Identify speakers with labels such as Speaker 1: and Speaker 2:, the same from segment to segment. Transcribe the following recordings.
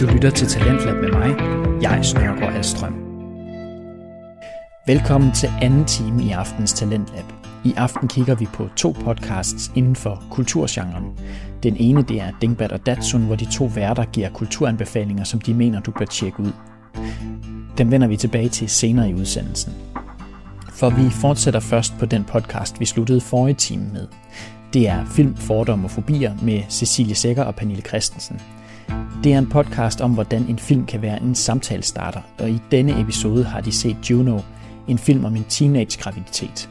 Speaker 1: Du lytter til Talentlab med mig. Jeg er Snørgaard Alstrøm. Velkommen til anden time i aftens Talentlab. I aften kigger vi på to podcasts inden for kulturgenren. Den ene det er Dingbat og Datsun, hvor de to værter giver kulturanbefalinger, som de mener, du bør tjekke ud. Dem vender vi tilbage til senere i udsendelsen. For vi fortsætter først på den podcast, vi sluttede forrige time med. Det er Film, Fordom og Fobier med Cecilie Sækker og Pernille Christensen. Det er en podcast om, hvordan en film kan være en samtalestarter, og i denne episode har de set Juno, en film om en teenage-graviditet.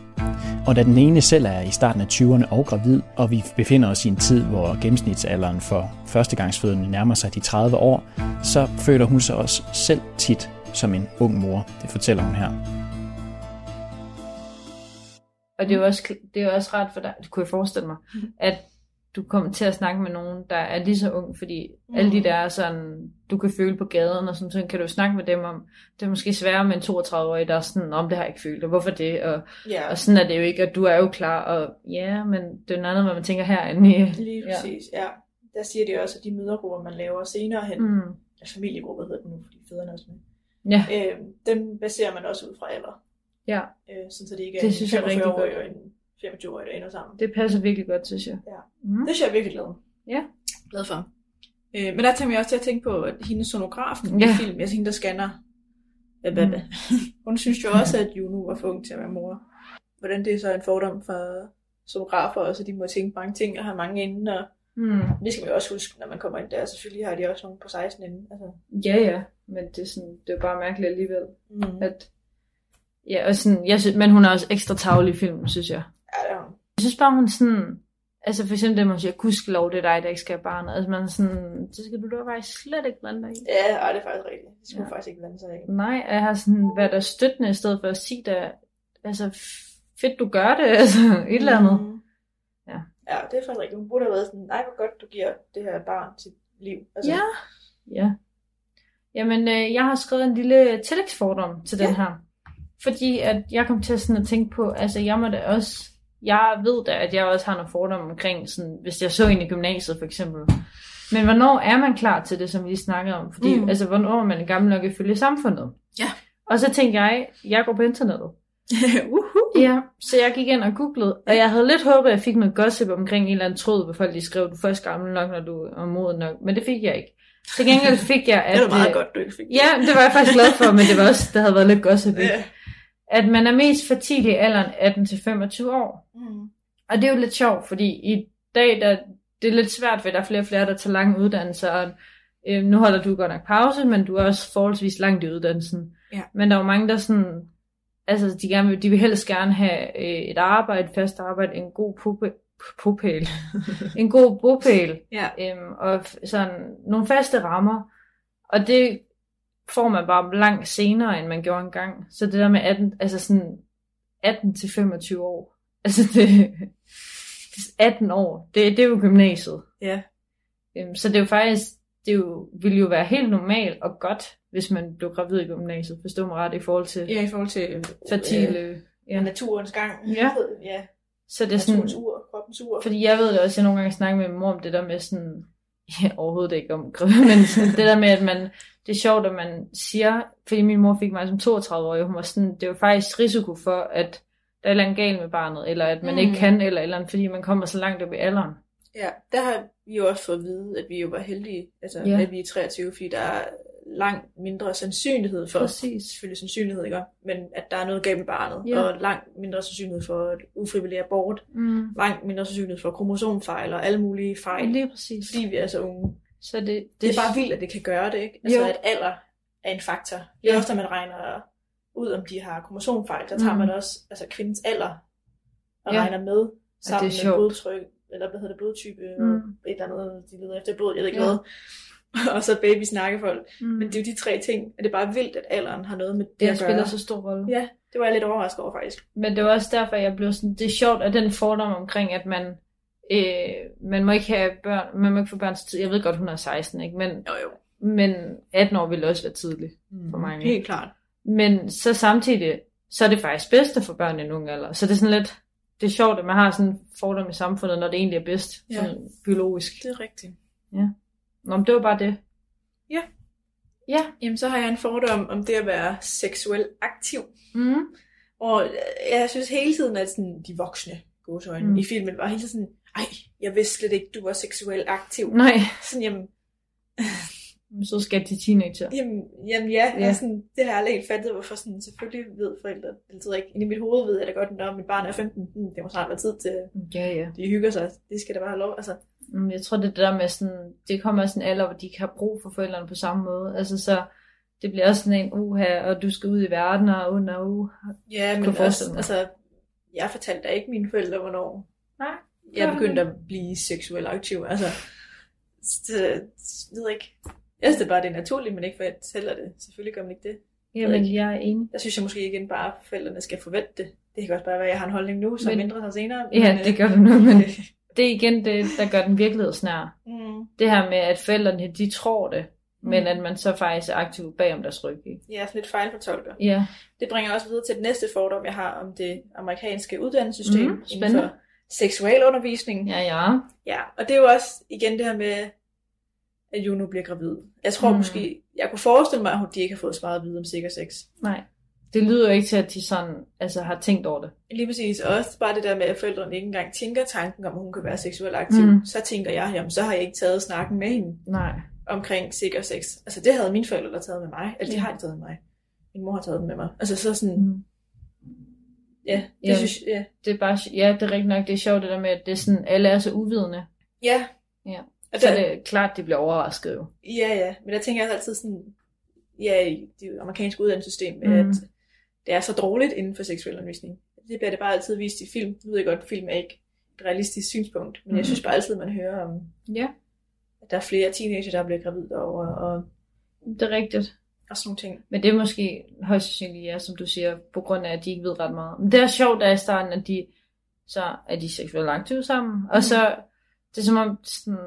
Speaker 1: Og da den ene selv er i starten af 20'erne og gravid, og vi befinder os i en tid, hvor gennemsnitsalderen for førstegangsfødende nærmer sig de 30 år, så føler hun sig også selv tit som en ung mor. Det fortæller hun her.
Speaker 2: Og det er jo også, kl- det er jo også rart for dig, det kunne jeg forestille mig,
Speaker 3: Mm.
Speaker 2: at du kommer til at snakke med nogen, der er lige så ung, fordi mm. alle de der er sådan, du kan føle på gaden, og sådan, så kan du jo snakke med dem om, det er måske sværere med en 32-årig, der er sådan, om det har jeg ikke følt, og hvorfor det, og,
Speaker 3: Ja,
Speaker 2: og sådan er det jo ikke, og du er jo klar, og ja, men det er jo noget andet, hvad man tænker herinde i.
Speaker 3: lige
Speaker 2: Ja.
Speaker 3: præcis. Ja. ja. Der siger de også, at de mødergrupper, man laver senere hen, mm.
Speaker 2: Mm.
Speaker 3: familiegrupper hedder den nu, fordi fædrene er også med,
Speaker 2: Ja,
Speaker 3: øh, dem baserer man også ud fra alder.
Speaker 2: ja,
Speaker 3: Øh, sådan, så det ikke er
Speaker 2: Det
Speaker 3: en
Speaker 2: synes jeg er rigtig
Speaker 3: 45-årig og
Speaker 2: godt.
Speaker 3: en 25-årig, der ender sammen. Det,
Speaker 2: det passer virkelig godt, synes jeg.
Speaker 3: Ja.
Speaker 2: Mm.
Speaker 3: det synes jeg er virkelig glad.
Speaker 2: Ja.
Speaker 3: Glad for. Øh, men der tænker jeg også til at tænke på, at hende sonografen
Speaker 2: Ja. Mm.
Speaker 3: i film, altså hende, der scanner, hvad, hvad, hvad. hun synes jo også, at Juno var for ung til at være mor. Hvordan det er så en fordom for sonografer også, at de må tænke mange ting og have mange inden, og
Speaker 2: Mm.
Speaker 3: det skal man jo også huske, når man kommer ind der, selvfølgelig har de også nogen på 16 inden. Altså,
Speaker 2: Ja, ja, men det er, sådan, det er jo bare mærkeligt alligevel.
Speaker 3: mm.
Speaker 2: At, ja, og sådan, jeg synes, men hun er også ekstra tavlig i filmen, synes jeg.
Speaker 3: Ja, det er hun.
Speaker 2: Jeg synes bare, hun sådan... Altså for eksempel det, man siger, gudskelov, det er dig, der ikke skal have barnet. Altså man er sådan, det skal du da faktisk slet ikke blande dig i.
Speaker 3: Ja, ej, det er faktisk rigtigt. Det skulle
Speaker 2: Ja.
Speaker 3: ja. faktisk ikke blande sig i.
Speaker 2: Nej, jeg har sådan været der støttende, i stedet for at sige der, altså f- fedt, du gør det, altså et eller andet.
Speaker 3: Mm.
Speaker 2: Ja.
Speaker 3: Ja, det er faktisk rigtigt. Hun burde have været sådan, nej, hvor godt du giver det her barn sit liv. Altså,
Speaker 2: Ja. Ja. Jamen, øh, jeg har skrevet en lille tillægsfordom til den
Speaker 3: Ja.
Speaker 2: her. Fordi at jeg kom til sådan at tænke på, altså jeg må da også, jeg ved da, at jeg også har nogle fordomme omkring, sådan, hvis jeg så en i gymnasiet for eksempel. Men hvornår er man klar til det, som vi lige snakkede om? Fordi, mm.
Speaker 3: Mm.
Speaker 2: altså, hvornår er man gammel nok ifølge samfundet?
Speaker 3: Ja.
Speaker 2: Og så tænkte jeg, jeg går på internettet.
Speaker 3: Uhuh.
Speaker 2: Ja, så jeg gik ind og googlede, og jeg havde lidt håbet, at jeg fik noget gossip omkring en eller anden tråd, hvor folk lige skrev, du er først gammel nok, når du er moden nok, men det fik jeg ikke. Til gengæld fik jeg, at...
Speaker 3: Det var meget
Speaker 2: øh,
Speaker 3: godt, du ikke fik det.
Speaker 2: Ja, det var jeg faktisk glad for, men det var også, der havde været lidt gossip. i.
Speaker 3: Ja.
Speaker 2: At man er mest fertil i alderen 18-25 år.
Speaker 3: Mm.
Speaker 2: Og det er jo lidt sjovt, fordi i dag, der, det er lidt svært, for der er flere og flere, der tager lange uddannelser, og øh, nu holder du godt nok pause, men du er også forholdsvis langt i uddannelsen.
Speaker 3: Ja.
Speaker 2: Men der er jo mange, der sådan, altså de, gerne vil, de vil helst gerne have øh, et arbejde, et fast arbejde, en god puppe, puppæl, en god bopæl,
Speaker 3: Ja.
Speaker 2: øhm, og f- sådan nogle faste rammer, og det får man bare langt senere, end man gjorde engang. Så det der med 18, altså sådan 18-25 år, altså det, 18 år, det, det er jo gymnasiet.
Speaker 3: Ja.
Speaker 2: Øhm, Så det er jo faktisk, det er jo, ville jo være helt normalt og godt, hvis man blev gravid i gymnasiet, forstå mig ret, i forhold til
Speaker 3: ja, i forhold til
Speaker 2: fertile.
Speaker 3: Ja.
Speaker 2: Ja.
Speaker 3: Naturens gang.
Speaker 2: Ja.
Speaker 3: ja.
Speaker 2: Så det er sådan,
Speaker 3: Naturens ur, kroppens ur.
Speaker 2: fordi jeg ved det også, jeg nogle gange snakker med min mor om det der med sådan, ja, overhovedet ikke om gravid, men sådan, det der med, at man, det er sjovt, at man siger, fordi min mor fik mig som 32 år, hun var sådan, det var faktisk risiko for, at der er et eller andet galt med barnet, eller at man mm.
Speaker 3: Mm.
Speaker 2: ikke kan, eller et eller andet, fordi man kommer så langt op i alderen.
Speaker 3: Ja, der har vi jo også fået at vide, at vi jo var heldige, altså
Speaker 2: Ja.
Speaker 3: ja. at vi er 23, fordi der er langt mindre sandsynlighed for,
Speaker 2: Præcis.
Speaker 3: selvfølgelig sandsynlighed, ikke? men at der er noget galt med barnet,
Speaker 2: Ja.
Speaker 3: ja. og langt mindre sandsynlighed for et ufrivillig abort,
Speaker 2: Mm.
Speaker 3: langt mindre sandsynlighed for kromosomfejl og alle mulige fejl,
Speaker 2: Lige præcis.
Speaker 3: fordi vi er så unge.
Speaker 2: Så det, det,
Speaker 3: Det er bare vildt, at det kan gøre det, ikke? Altså
Speaker 2: Jo.
Speaker 3: at alder er en faktor. Det er
Speaker 2: Ja.
Speaker 3: ja. også, når man regner ud, om de har kromosomfejl, der tager
Speaker 2: Mm.
Speaker 3: man også altså kvindens alder og
Speaker 2: Ja.
Speaker 3: ja. regner med sammen med
Speaker 2: sjovt.
Speaker 3: blodtryk, eller hvad hedder det, blodtype,
Speaker 2: Mm.
Speaker 3: mm. et eller andet, de leder efter blod, jeg ved ikke
Speaker 2: Ja.
Speaker 3: ja. hvad. og så baby snakkefolk.
Speaker 2: Mm.
Speaker 3: Men det er jo de tre ting, og det er bare vildt, at alderen har noget med det,
Speaker 2: det
Speaker 3: at
Speaker 2: spiller
Speaker 3: gøre.
Speaker 2: så stor rolle.
Speaker 3: Ja, det var jeg lidt overrasket over faktisk.
Speaker 2: Men det var også derfor, jeg blev sådan, det er sjovt, at den fordom omkring, at man, øh, man må ikke have børn, man må ikke få børn så tid. Jeg ved godt, hun er 16, ikke? Men,
Speaker 3: Jo, jo.
Speaker 2: men 18 år ville også være tidligt for mange.
Speaker 3: Mm. Helt klart.
Speaker 2: Men så samtidig, så er det faktisk bedst at få børn i en ung alder. Så det er sådan lidt, det er sjovt, at man har sådan en fordom i samfundet, når det egentlig er bedst, ja.
Speaker 3: Ja.
Speaker 2: sådan biologisk.
Speaker 3: Det er rigtigt.
Speaker 2: Nå, men det var bare det. Ja.
Speaker 3: Jamen, så har jeg en fordom om det at være seksuelt aktiv.
Speaker 2: Mm.
Speaker 3: Og øh, jeg synes hele tiden, at sådan, de voksne gåsøjne
Speaker 2: Mm.
Speaker 3: mm. i filmen var hele tiden sådan, ej, jeg vidste slet ikke, du var seksuelt aktiv. Mm.
Speaker 2: Nej,
Speaker 3: Sådan, jamen,
Speaker 2: så skal de teenager.
Speaker 3: jamen, jamen ja,
Speaker 2: Ja.
Speaker 3: ja. Sådan, det har jeg aldrig helt fattet, hvorfor sådan, selvfølgelig ved forældre det altid ikke. Inde i mit hoved ved jeg da godt, når mit barn er 15, hmm, det må snart være tid til, at
Speaker 2: Ja, ja.
Speaker 3: de hygger sig, det skal da bare have lov. Altså,
Speaker 2: Mm, Jeg tror, det er det der med sådan, det kommer også en alder, hvor de ikke har brug for forældrene på samme måde. Altså så, det bliver også sådan en uha, og du skal ud i verden, og under uh.
Speaker 3: ja,
Speaker 2: Kunne
Speaker 3: men
Speaker 2: forestille
Speaker 3: også,
Speaker 2: mig.
Speaker 3: altså, jeg fortalte da ikke mine forældre, hvornår
Speaker 2: Nej.
Speaker 3: jeg begyndte at blive seksuelt aktiv. Altså, det, jeg ved ikke. Jeg synes det bare, det er naturligt, men ikke fortæller det. Selvfølgelig gør man ikke det.
Speaker 2: Jamen, jeg er enig.
Speaker 3: Der synes jeg måske igen bare, at forældrene skal forvente det. Det kan godt bare være, at jeg har en holdning nu, som
Speaker 2: Men-
Speaker 3: men... ændrer sig senere.
Speaker 2: Ja,
Speaker 3: øh,
Speaker 2: det gør du nu, men det er igen det, der gør den virkelighedsnær.
Speaker 3: mm,
Speaker 2: Det her med, at forældrene, de tror det, men at man så faktisk er aktiv bagom deres ryg, ikke?
Speaker 3: Ja, sådan lidt fejlfortolker.
Speaker 2: Ja,
Speaker 3: Det bringer også videre til det næste fordom, jeg har om det amerikanske uddannelsessystem
Speaker 2: Mhm,
Speaker 3: mm, inden
Speaker 2: spændende.
Speaker 3: for seksualundervisning.
Speaker 2: ja, ja.
Speaker 3: ja, og det er jo også igen det her med, at Juno bliver gravid. Jeg tror
Speaker 2: Mm.
Speaker 3: mm. måske, jeg kunne forestille mig, at hun- de ikke har fået svaret at vide om sikker sex.
Speaker 2: Nej. Det lyder jo ikke til, at de sådan, altså, har tænkt over det.
Speaker 3: Lige præcis. Og også bare det der med, at forældrene ikke engang tænker tanken om, at hun kan være seksuelt aktiv.
Speaker 2: Mm.
Speaker 3: Mm. Så tænker jeg, jamen så har jeg ikke taget snakken med hende.
Speaker 2: Nej.
Speaker 3: omkring sikker sex. Altså det havde mine forældre taget med mig. Eller
Speaker 2: Ja.
Speaker 3: det har de taget med mig. Min mor har taget den med mig. Altså så sådan,
Speaker 2: Mm.
Speaker 3: ja, det
Speaker 2: Ja.
Speaker 3: synes jeg, ja.
Speaker 2: Det er bare, ja, det er rigtigt nok, det er sjovt det der med, at det er sådan, alle er så uvidende.
Speaker 3: Ja.
Speaker 2: Ja.
Speaker 3: Og
Speaker 2: Så
Speaker 3: der,
Speaker 2: er det er klart, de bliver overrasket jo.
Speaker 3: Ja, ja. Men der tænker jeg også altid sådan, ja, i det amerikanske uddannelsessystem,
Speaker 2: Mm.
Speaker 3: mm. at det er så dårligt inden for seksuel undervisning. Det bliver det bare altid vist i film. Nu ved jeg godt, at film er ikke et realistisk synspunkt, men mm.
Speaker 2: Mm.
Speaker 3: jeg synes bare altid, man hører om,
Speaker 2: Ja,
Speaker 3: at der er flere teenager, der bliver gravid over, og,
Speaker 2: det er rigtigt.
Speaker 3: og sådan nogle ting.
Speaker 2: Men det er måske højst sandsynligt, ja, som du siger, på grund af, at de ikke ved ret meget. Men det er sjovt, der i starten, at de, så er de seksuelt aktive sammen, og
Speaker 3: Mm.
Speaker 2: så, det er som om, sådan,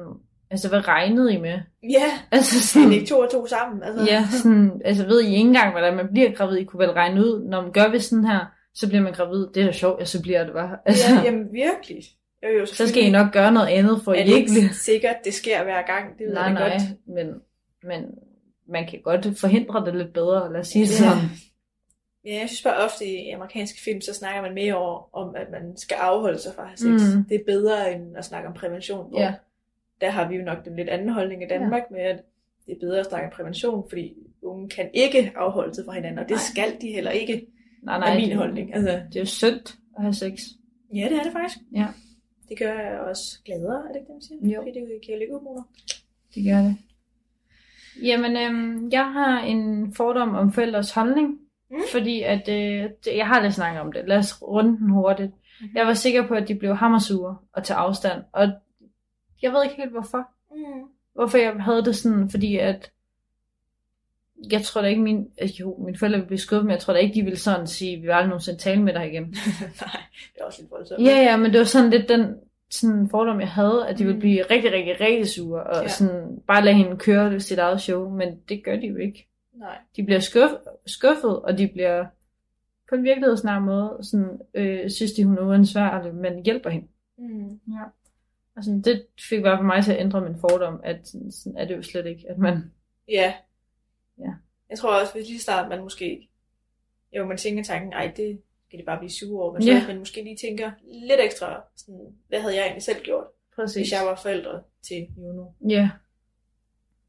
Speaker 2: altså, hvad regnede I med?
Speaker 3: Ja,
Speaker 2: Altså,
Speaker 3: det er
Speaker 2: sådan,
Speaker 3: ikke to og to sammen. Altså.
Speaker 2: ja, sådan, altså, ved I ikke engang, hvordan man bliver gravid? I kunne vel regne ud, når man gør ved sådan her, så bliver man gravid. Det er da sjovt, og så bliver jeg det bare. Altså,
Speaker 3: ja jamen virkelig. Jo, jo,
Speaker 2: så skal I nok gøre noget andet, for
Speaker 3: er
Speaker 2: I
Speaker 3: det
Speaker 2: ikke
Speaker 3: ikke
Speaker 2: bliver...
Speaker 3: sikkert, det sker hver gang. Det ved
Speaker 2: Nej,
Speaker 3: jeg da
Speaker 2: nej,
Speaker 3: godt.
Speaker 2: men, men man kan godt forhindre det lidt bedre, lad os sige det
Speaker 3: Ja.
Speaker 2: sådan.
Speaker 3: Ja, jeg synes bare ofte i amerikanske film, så snakker man mere over, om, at man skal afholde sig fra at have sex.
Speaker 2: Mm.
Speaker 3: Mm. Det er bedre end at snakke om prævention. Hvor
Speaker 2: Ja.
Speaker 3: Der har vi jo nok den lidt anden holdning i Danmark med, at det er bedre at snakke om prævention, fordi unge kan ikke afholde sig fra hinanden, og det
Speaker 2: Nej.
Speaker 3: skal de heller ikke,
Speaker 2: Nej,
Speaker 3: nej,
Speaker 2: nej,
Speaker 3: er min
Speaker 2: det,
Speaker 3: holdning. Altså,
Speaker 2: det er jo sundt at have sex.
Speaker 3: ja, det er det faktisk.
Speaker 2: Ja.
Speaker 3: Det gør jeg også gladere, er det ikke det, man siger?
Speaker 2: Jo.
Speaker 3: Fordi det giver lykkehormoner.
Speaker 2: Det gør det. Jamen, øhm, jeg har en fordom om forældres holdning, mm.
Speaker 3: Mm.
Speaker 2: fordi at, øh, det, jeg har lidt snakket om det. Lad os runde den hurtigt.
Speaker 3: Mhm.
Speaker 2: Jeg var sikker på, at de blev hammersure og tage afstand, og jeg ved ikke helt hvorfor.
Speaker 3: Mm.
Speaker 2: hvorfor jeg havde det sådan, fordi at jeg tror da ikke, min, altså jo, mine forældre ville blive skuffet, men jeg tror da ikke, de ville sådan sige, vi vil aldrig nogensinde tale med dig igen.
Speaker 3: nej, det er også lidt voldsomt.
Speaker 2: ja, ja, men det var sådan lidt den sådan fordom, jeg havde, at de ville
Speaker 3: Mm.
Speaker 2: blive rigtig, rigtig, rigtig sure, og ja.
Speaker 3: Ja.
Speaker 2: sådan bare lade hende køre sit eget show, men det gør de jo ikke.
Speaker 3: Nej.
Speaker 2: De bliver skuff, skuffet, og de bliver på en virkelighedsnær måde, sådan, øh, synes de, hun er uansvarlig, men hjælper hende.
Speaker 3: Mm.
Speaker 2: Altså, det fik bare for mig til at ændre min fordom, at sådan, sådan er det jo slet ikke, at man
Speaker 3: Ja.
Speaker 2: Ja.
Speaker 3: Jeg tror også, hvis lige start man måske... Jo, man tænker tanken, ej, det skal det bare blive sure over. Men
Speaker 2: Ja.
Speaker 3: så, hvis man måske lige tænker lidt ekstra, sådan, hvad havde jeg egentlig selv gjort,
Speaker 2: Præcis.
Speaker 3: hvis jeg var forældre til Juno?
Speaker 2: Ja.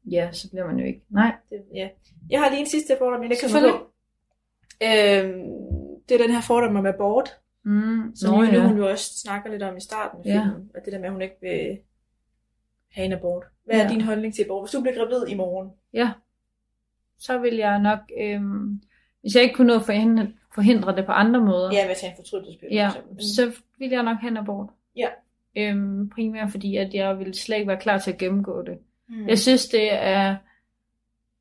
Speaker 2: Ja, så bliver man jo ikke. Nej.
Speaker 3: Det, ja. Jeg har lige en sidste fordom, jeg ikke kan
Speaker 2: Selvfølgelig.
Speaker 3: på. Øhm, det er den her fordom om abort,
Speaker 2: Mm,
Speaker 3: som Juno hun jo også snakker lidt om i starten af
Speaker 2: Ja.
Speaker 3: filmen. Og det der med, at hun ikke vil have en abort. Hvad er
Speaker 2: Ja.
Speaker 3: din holdning til abort? Hvis du bliver gravid i morgen,
Speaker 2: Så vil jeg nok, øhm, hvis jeg ikke kunne nå at forhindre, forhindre det på andre måder,
Speaker 3: ja, med at tage en fortrydelsespille.
Speaker 2: ja,
Speaker 3: for eksempel.
Speaker 2: så vil jeg nok hen abort.
Speaker 3: Ja.
Speaker 2: Øhm, primært fordi, at jeg ville slet ikke være klar til at gennemgå det.
Speaker 3: Mm.
Speaker 2: Jeg synes, det er,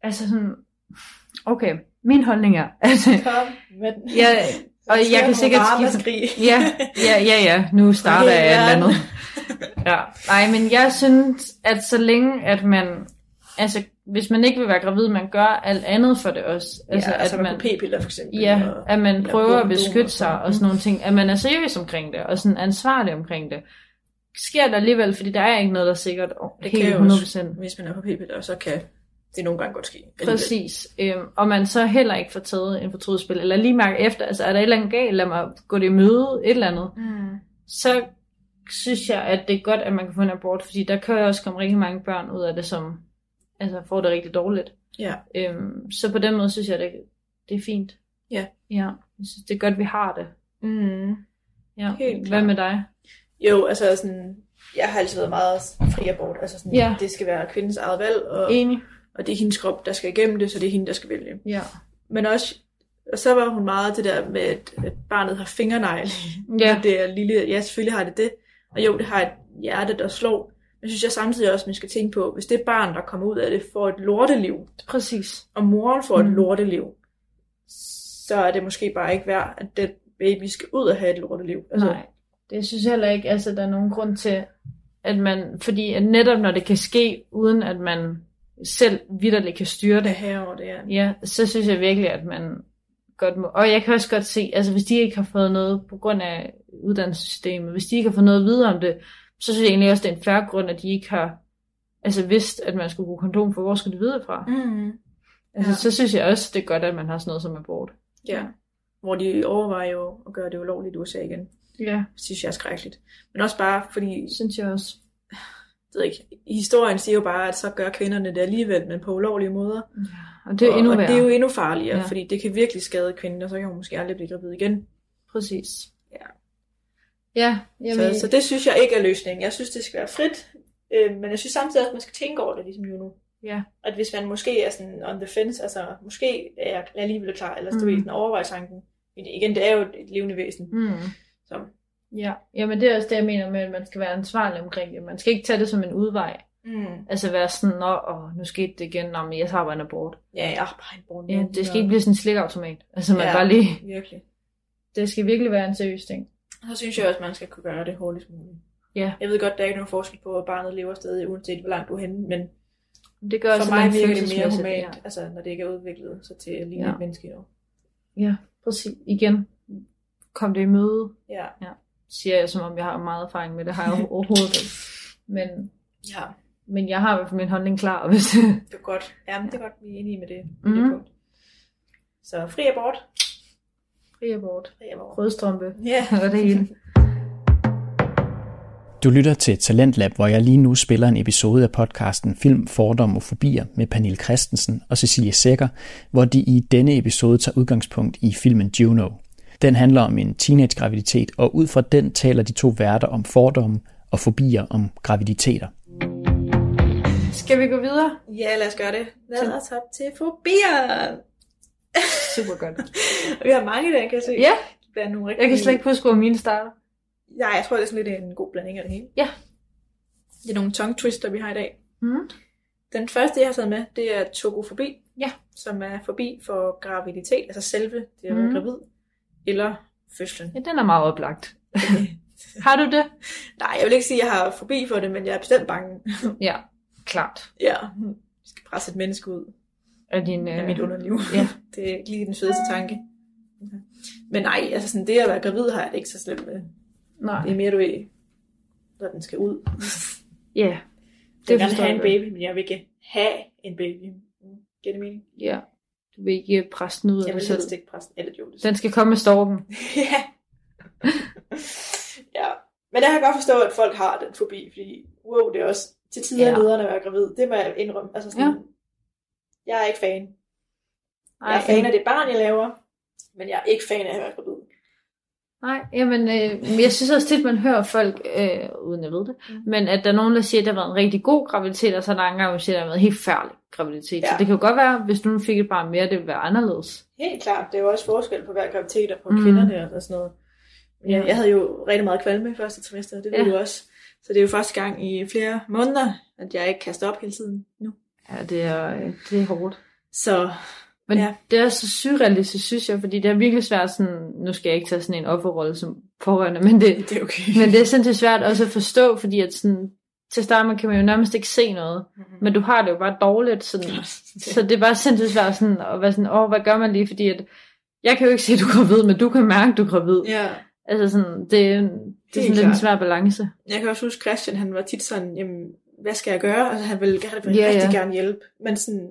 Speaker 2: altså sådan, okay, min holdning er, at
Speaker 3: Kom med den.
Speaker 2: jeg, og jeg kan sikkert skifte, Ja, ja, ja, ja. Nu starter jeg et eller andet. Ja. Nej, men jeg synes, at så længe, at man... Altså, hvis man ikke vil være gravid, man gør alt andet for det også.
Speaker 3: altså,
Speaker 2: Altså,
Speaker 3: ja, altså
Speaker 2: at
Speaker 3: man, p-piller for eksempel.
Speaker 2: Ja,
Speaker 3: og,
Speaker 2: at man
Speaker 3: eller
Speaker 2: prøver at
Speaker 3: kondom
Speaker 2: beskytte
Speaker 3: og
Speaker 2: sig
Speaker 3: sådan.
Speaker 2: og sådan nogle ting. At man er seriøs omkring det, og sådan ansvarlig omkring det. Sker det alligevel, fordi der er ikke noget, der er sikkert og
Speaker 3: Det
Speaker 2: helt
Speaker 3: kan jo
Speaker 2: 100%.
Speaker 3: hvis man er på p-piller, og så kan det nogle gange godt ske. alligevel.
Speaker 2: Præcis. Øhm, og man så heller ikke får taget en fortrydspil, eller lige mærke efter, altså er der et eller andet galt, lad mig gå det i møde, et eller andet,
Speaker 3: Mm.
Speaker 2: så synes jeg, at det er godt, at man kan få en abort, fordi der kan jo også komme rigtig mange børn ud af det, som altså, får det rigtig dårligt.
Speaker 3: Ja.
Speaker 2: Øhm, så på den måde synes jeg, det, det er fint.
Speaker 3: Ja.
Speaker 2: ja. Jeg synes, det er godt, vi har det.
Speaker 3: Mm.
Speaker 2: Ja.
Speaker 3: Helt
Speaker 2: Hvad
Speaker 3: klart.
Speaker 2: med dig?
Speaker 3: Jo, altså sådan, jeg har altid været meget fri abort. Altså sådan,
Speaker 2: Ja.
Speaker 3: det skal være kvindens eget valg, og,
Speaker 2: Enig?
Speaker 3: og det er hendes krop, der skal igennem det, så det er hende, der skal vælge.
Speaker 2: Ja.
Speaker 3: Men også, og så var hun meget det der med, at, at barnet har fingernegle.
Speaker 2: Ja.
Speaker 3: Ja. Ligesom Det er lille, ja, selvfølgelig har det det. Og jo, det har et hjerte, der slår. Men synes jeg samtidig også, man skal tænke på, hvis det barn, der kommer ud af det, får et lorteliv,
Speaker 2: Præcis.
Speaker 3: og moren får
Speaker 2: Mm.
Speaker 3: et lorteliv, så er det måske bare ikke værd, at den baby skal ud og have et lorteliv.
Speaker 2: Altså, Nej, det synes jeg heller ikke, altså der er nogen grund til, at man, fordi at netop når det kan ske, uden at man selv vidderligt kan styre
Speaker 3: det
Speaker 2: det,
Speaker 3: her over det er.
Speaker 2: ja, så synes jeg virkelig, at man godt må, og jeg kan også godt se, altså hvis de ikke har fået noget på grund af uddannelsessystemet, hvis de ikke har fået noget at vide om det, så synes jeg egentlig også, det er en færre grund, at de ikke har altså vidst, at man skulle bruge kondom, for hvor skulle de vide det fra?
Speaker 3: Mm.
Speaker 2: Altså,
Speaker 3: Ja.
Speaker 2: så synes jeg også, det er godt, at man har sådan noget som abort.
Speaker 3: Ja. Hvor de overvejer jo at gøre det ulovligt i USA igen.
Speaker 2: Ja,
Speaker 3: Det synes jeg er skrækkeligt. Men også bare fordi,
Speaker 2: synes jeg også.
Speaker 3: jeg ved ikke, historien siger jo bare, at så gør kvinderne det alligevel, men på ulovlige måder.
Speaker 2: Og det er jo
Speaker 3: og,
Speaker 2: endnu
Speaker 3: og
Speaker 2: værre.
Speaker 3: det er jo endnu farligere,
Speaker 2: Ja.
Speaker 3: ja. fordi det kan virkelig skade kvinden, og så kan hun måske aldrig blive gravid igen.
Speaker 2: Præcis.
Speaker 3: Ja.
Speaker 2: Ja,
Speaker 3: Så,
Speaker 2: jamen,
Speaker 3: så det synes jeg ikke er løsningen. Jeg synes, det skal være frit, øh, men jeg synes samtidig også, at man skal tænke over det, ligesom Juno.
Speaker 2: Ja.
Speaker 3: At hvis man måske er sådan on the fence, altså måske er jeg alligevel klar, eller
Speaker 2: Mm.
Speaker 3: mm. ved, overvejer tanken. Men igen, det er jo et levende væsen. Mm.
Speaker 2: Mm.
Speaker 3: Så.
Speaker 2: Ja, jamen det er også det, jeg mener med, at man skal være ansvarlig omkring det. Man skal ikke tage det som en udvej.
Speaker 3: Mm.
Speaker 2: Altså være sådan, nå, åh, nu skete det igen, nå, men jeg tager bare en abort.
Speaker 3: Ja, jeg har bare en brun
Speaker 2: Ja,
Speaker 3: mund,
Speaker 2: det skal
Speaker 3: og-
Speaker 2: ikke blive sådan en slikautomat. Altså man
Speaker 3: Ja.
Speaker 2: bare lige,
Speaker 3: Virkelig.
Speaker 2: det skal virkelig være en seriøs ting.
Speaker 3: Så synes jeg også, at man skal kunne gøre det hurtigst muligt.
Speaker 2: Ja.
Speaker 3: Jeg ved godt, der er ikke nogen forskel på, at barnet lever stadig, uanset hvor langt du er henne, men
Speaker 2: Det gør
Speaker 3: for
Speaker 2: også, at
Speaker 3: mig
Speaker 2: man
Speaker 3: virker det mere
Speaker 2: følelsesmæssigt-
Speaker 3: humant, ja. altså, når det ikke er udviklet, så til at ligne
Speaker 2: Ja.
Speaker 3: ja. et menneske endnu.
Speaker 2: Ja, ja præcis. Igen, kom det i møde,
Speaker 3: Ja.
Speaker 2: siger jeg, som om jeg har meget erfaring med det, har jeg overhovedet ikke. Men,
Speaker 3: ja,
Speaker 2: men jeg har i hvert fald min holdning klar, hvis...
Speaker 3: det er godt. Jamen, det er godt, vi er enige med det.
Speaker 2: Mhm.
Speaker 3: Mm. det punkt. Så fri abort.
Speaker 2: Fri abort.
Speaker 3: Fri abort.
Speaker 2: Rødstrømpe.
Speaker 3: Ja.
Speaker 2: Og det hele.
Speaker 1: Du lytter til Talentlab, hvor jeg lige nu spiller en episode af podcasten Film, Fordom og Fobier med Pernille Christensen og Cecilie Sækker, hvor de i denne episode tager udgangspunkt i filmen Juno. Den handler om en teenage-graviditet, og ud fra den taler de to værter om fordomme og fobier om graviditeter.
Speaker 2: Skal vi gå videre?
Speaker 3: Ja, lad os gøre det. Lad os hoppe til fobier.
Speaker 2: Super godt.
Speaker 3: Og vi har mange i dag, kan jeg se.
Speaker 2: Ja,
Speaker 3: Der er nogle rigtig...
Speaker 2: jeg kan slet ikke huske, hvor mine starter.
Speaker 3: Nej, jeg tror, det er sådan lidt en god blanding af det hele.
Speaker 2: Ja.
Speaker 3: Det er nogle tongue twister, vi har i dag.
Speaker 2: Mm.
Speaker 3: Den første, jeg har taget med, det er togofobi,
Speaker 2: Ja.
Speaker 3: som er forbi for graviditet, altså selve det at være
Speaker 2: Mhm.
Speaker 3: gravid, eller fødslen.
Speaker 2: Ja, den er meget oplagt. Har du det?
Speaker 3: Nej, jeg vil ikke sige, at jeg har forbi for det, men jeg er bestemt bange.
Speaker 2: Ja, klart.
Speaker 3: ja, jeg skal presse et menneske ud
Speaker 2: Af din,
Speaker 3: af
Speaker 2: øh...
Speaker 3: mit underliv.
Speaker 2: Ja.
Speaker 3: det er ikke lige den fedeste tanke. Men nej, altså sådan det at være gravid har jeg det ikke så slemt med.
Speaker 2: Nej.
Speaker 3: Det er mere, du ved, når den skal ud.
Speaker 2: Ja,
Speaker 3: Jeg vil gerne
Speaker 2: forstår
Speaker 3: have en
Speaker 2: jeg
Speaker 3: baby, men jeg vil ikke have en baby. Mm, Giver det mening?
Speaker 2: godt. Ja. Du vil ikke øh, presse den ud af
Speaker 3: Jeg
Speaker 2: dig
Speaker 3: vil
Speaker 2: selv.
Speaker 3: helst ikke presse eller jo, det
Speaker 2: Den skal komme med storken.
Speaker 3: ja. ja. Men jeg kan godt forstå, at folk har den fobi, fordi wow, det er også til tider
Speaker 2: Ja.
Speaker 3: ja. nederen at være gravid. Det må jeg indrømme. Altså sådan,
Speaker 2: Ja.
Speaker 3: ja. Jeg er ikke fan. Jeg er fan af det barn, jeg laver, men jeg er ikke fan af at være gravid.
Speaker 2: Nej, jamen, øh, jeg synes også tit, man hører folk, øh, uden jeg ved det,
Speaker 3: Mm.
Speaker 2: men at der er nogen, der siger, at det har været en rigtig god graviditet, og så er der andre, der siger, at det har været en helt færdig graviditet. Ja. Så
Speaker 3: Ja.
Speaker 2: det kan jo godt være, hvis du nu fik et barn mere, det ville være anderledes.
Speaker 3: Helt klart, det er jo også forskel på hver graviditet og på
Speaker 2: Mm.
Speaker 3: mm. kvinderne og sådan noget. Men Jeg,
Speaker 2: Ja.
Speaker 3: jeg havde jo rigtig meget kvalme i første trimester, det ved
Speaker 2: Ja.
Speaker 3: du også. Så det er jo første gang i flere måneder, at jeg ikke kaster op hele tiden nu.
Speaker 2: Ja, det er, øh, det er hårdt.
Speaker 3: Så
Speaker 2: Men ja.
Speaker 3: Ja.
Speaker 2: det er så surrealistisk, synes jeg, fordi det er virkelig svært sådan, nu skal jeg ikke tage sådan en offerrolle som pårørende, men det,
Speaker 3: det er okay.
Speaker 2: men det er sindssygt svært også at forstå, fordi at sådan, til start man kan man jo nærmest ikke se noget, men du har det jo bare dårligt, sådan, så det er bare sindssygt svært sådan, at være sådan, åh, hvad gør man lige, fordi at, jeg kan jo ikke se, at du er gravid, men du kan mærke, at du er gravid. Ja.
Speaker 3: ja.
Speaker 2: Altså sådan, det, er en- det er
Speaker 3: Helt
Speaker 2: sådan lidt en
Speaker 3: klart.
Speaker 2: svær balance.
Speaker 3: Jeg kan også huske, Christian, han var tit sådan, jamen, hvad skal jeg gøre? Altså, han ville, han ville
Speaker 2: Ja,
Speaker 3: ja,
Speaker 2: ja.
Speaker 3: rigtig gerne hjælpe, men sådan,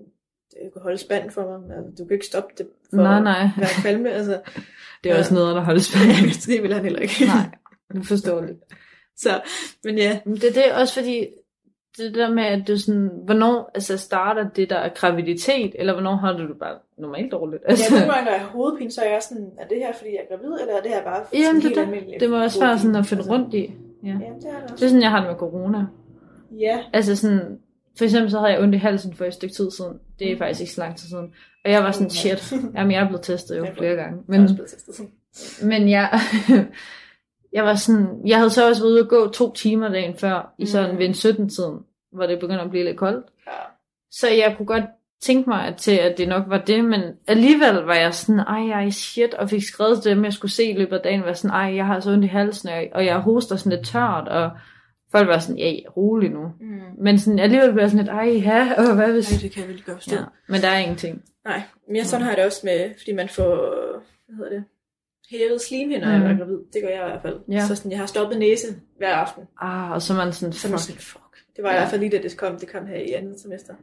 Speaker 3: du kan holde spanden for mig, altså, du kan ikke stoppe det for
Speaker 2: Nej,
Speaker 3: at
Speaker 2: nej.
Speaker 3: være kvalme, altså,
Speaker 2: Det er også noget, der holdes på.
Speaker 3: det ville han heller ikke.
Speaker 2: Nej, uforståeligt.
Speaker 3: Så, men ja,
Speaker 2: Men det, det er også fordi, det der med, at du sådan, hvornår altså, starter det der er graviditet, eller hvornår har du det bare normalt dårligt?
Speaker 3: altså,
Speaker 2: Altså,
Speaker 3: ja, nogle gange, når jeg har hovedpine, så er jeg sådan, er det her, fordi jeg er gravid, eller er det her bare sådan
Speaker 2: jamen, det,
Speaker 3: helt
Speaker 2: der,
Speaker 3: almindelig
Speaker 2: det må også være
Speaker 3: hovedpine?
Speaker 2: sådan at finde rundt i. Ja.
Speaker 3: altså. Ja, det er det
Speaker 2: Det er
Speaker 3: også.
Speaker 2: sådan, jeg har det med corona.
Speaker 3: Ja,
Speaker 2: Altså sådan, for eksempel så havde jeg ondt i halsen for et stykke tid siden. Det er faktisk ikke så lang tid siden. Og jeg var sådan, shit, jamen jeg er blevet testet jo
Speaker 3: Ja.
Speaker 2: flere gange.
Speaker 3: men... jeg er
Speaker 2: Men,
Speaker 3: også blevet testet sådan.
Speaker 2: men jeg, jeg var sådan, jeg havde så også været ude at gå to timer dagen før, i sådan
Speaker 3: Mm.
Speaker 2: ved en 17-tiden, hvor det begynder at blive lidt koldt.
Speaker 3: Ja.
Speaker 2: Så jeg kunne godt tænke mig at til, at det nok var det, men alligevel var jeg sådan, ej, ej, shit, og fik skrevet til dem, jeg skulle se i løbet af dagen, var sådan, ej, jeg har så ondt i halsen, og- og jeg hoster sådan lidt tørt, og folk var sådan, ja, rolig nu.
Speaker 3: Mm.
Speaker 2: Men sådan, alligevel blev jeg sådan lidt, ej, ja, og hvad hvis...
Speaker 3: Nej, det kan jeg virkelig godt forstå.
Speaker 2: Ja, men der er ingenting.
Speaker 3: Nej, men jeg sådan har jeg det også med, fordi man får, hvad hedder det, hævet slimhinder,
Speaker 2: Mm.
Speaker 3: mm. når jeg er gravid. Det gør jeg i hvert fald.
Speaker 2: Ja.
Speaker 3: Så sådan, jeg har stoppet næse hver aften.
Speaker 2: Ah, og så er man sådan,
Speaker 3: Så man
Speaker 2: fuck.
Speaker 3: sådan, fuck. Det var i
Speaker 2: Ja.
Speaker 3: hvert fald lige, da det kom. Det kom her i andet semester.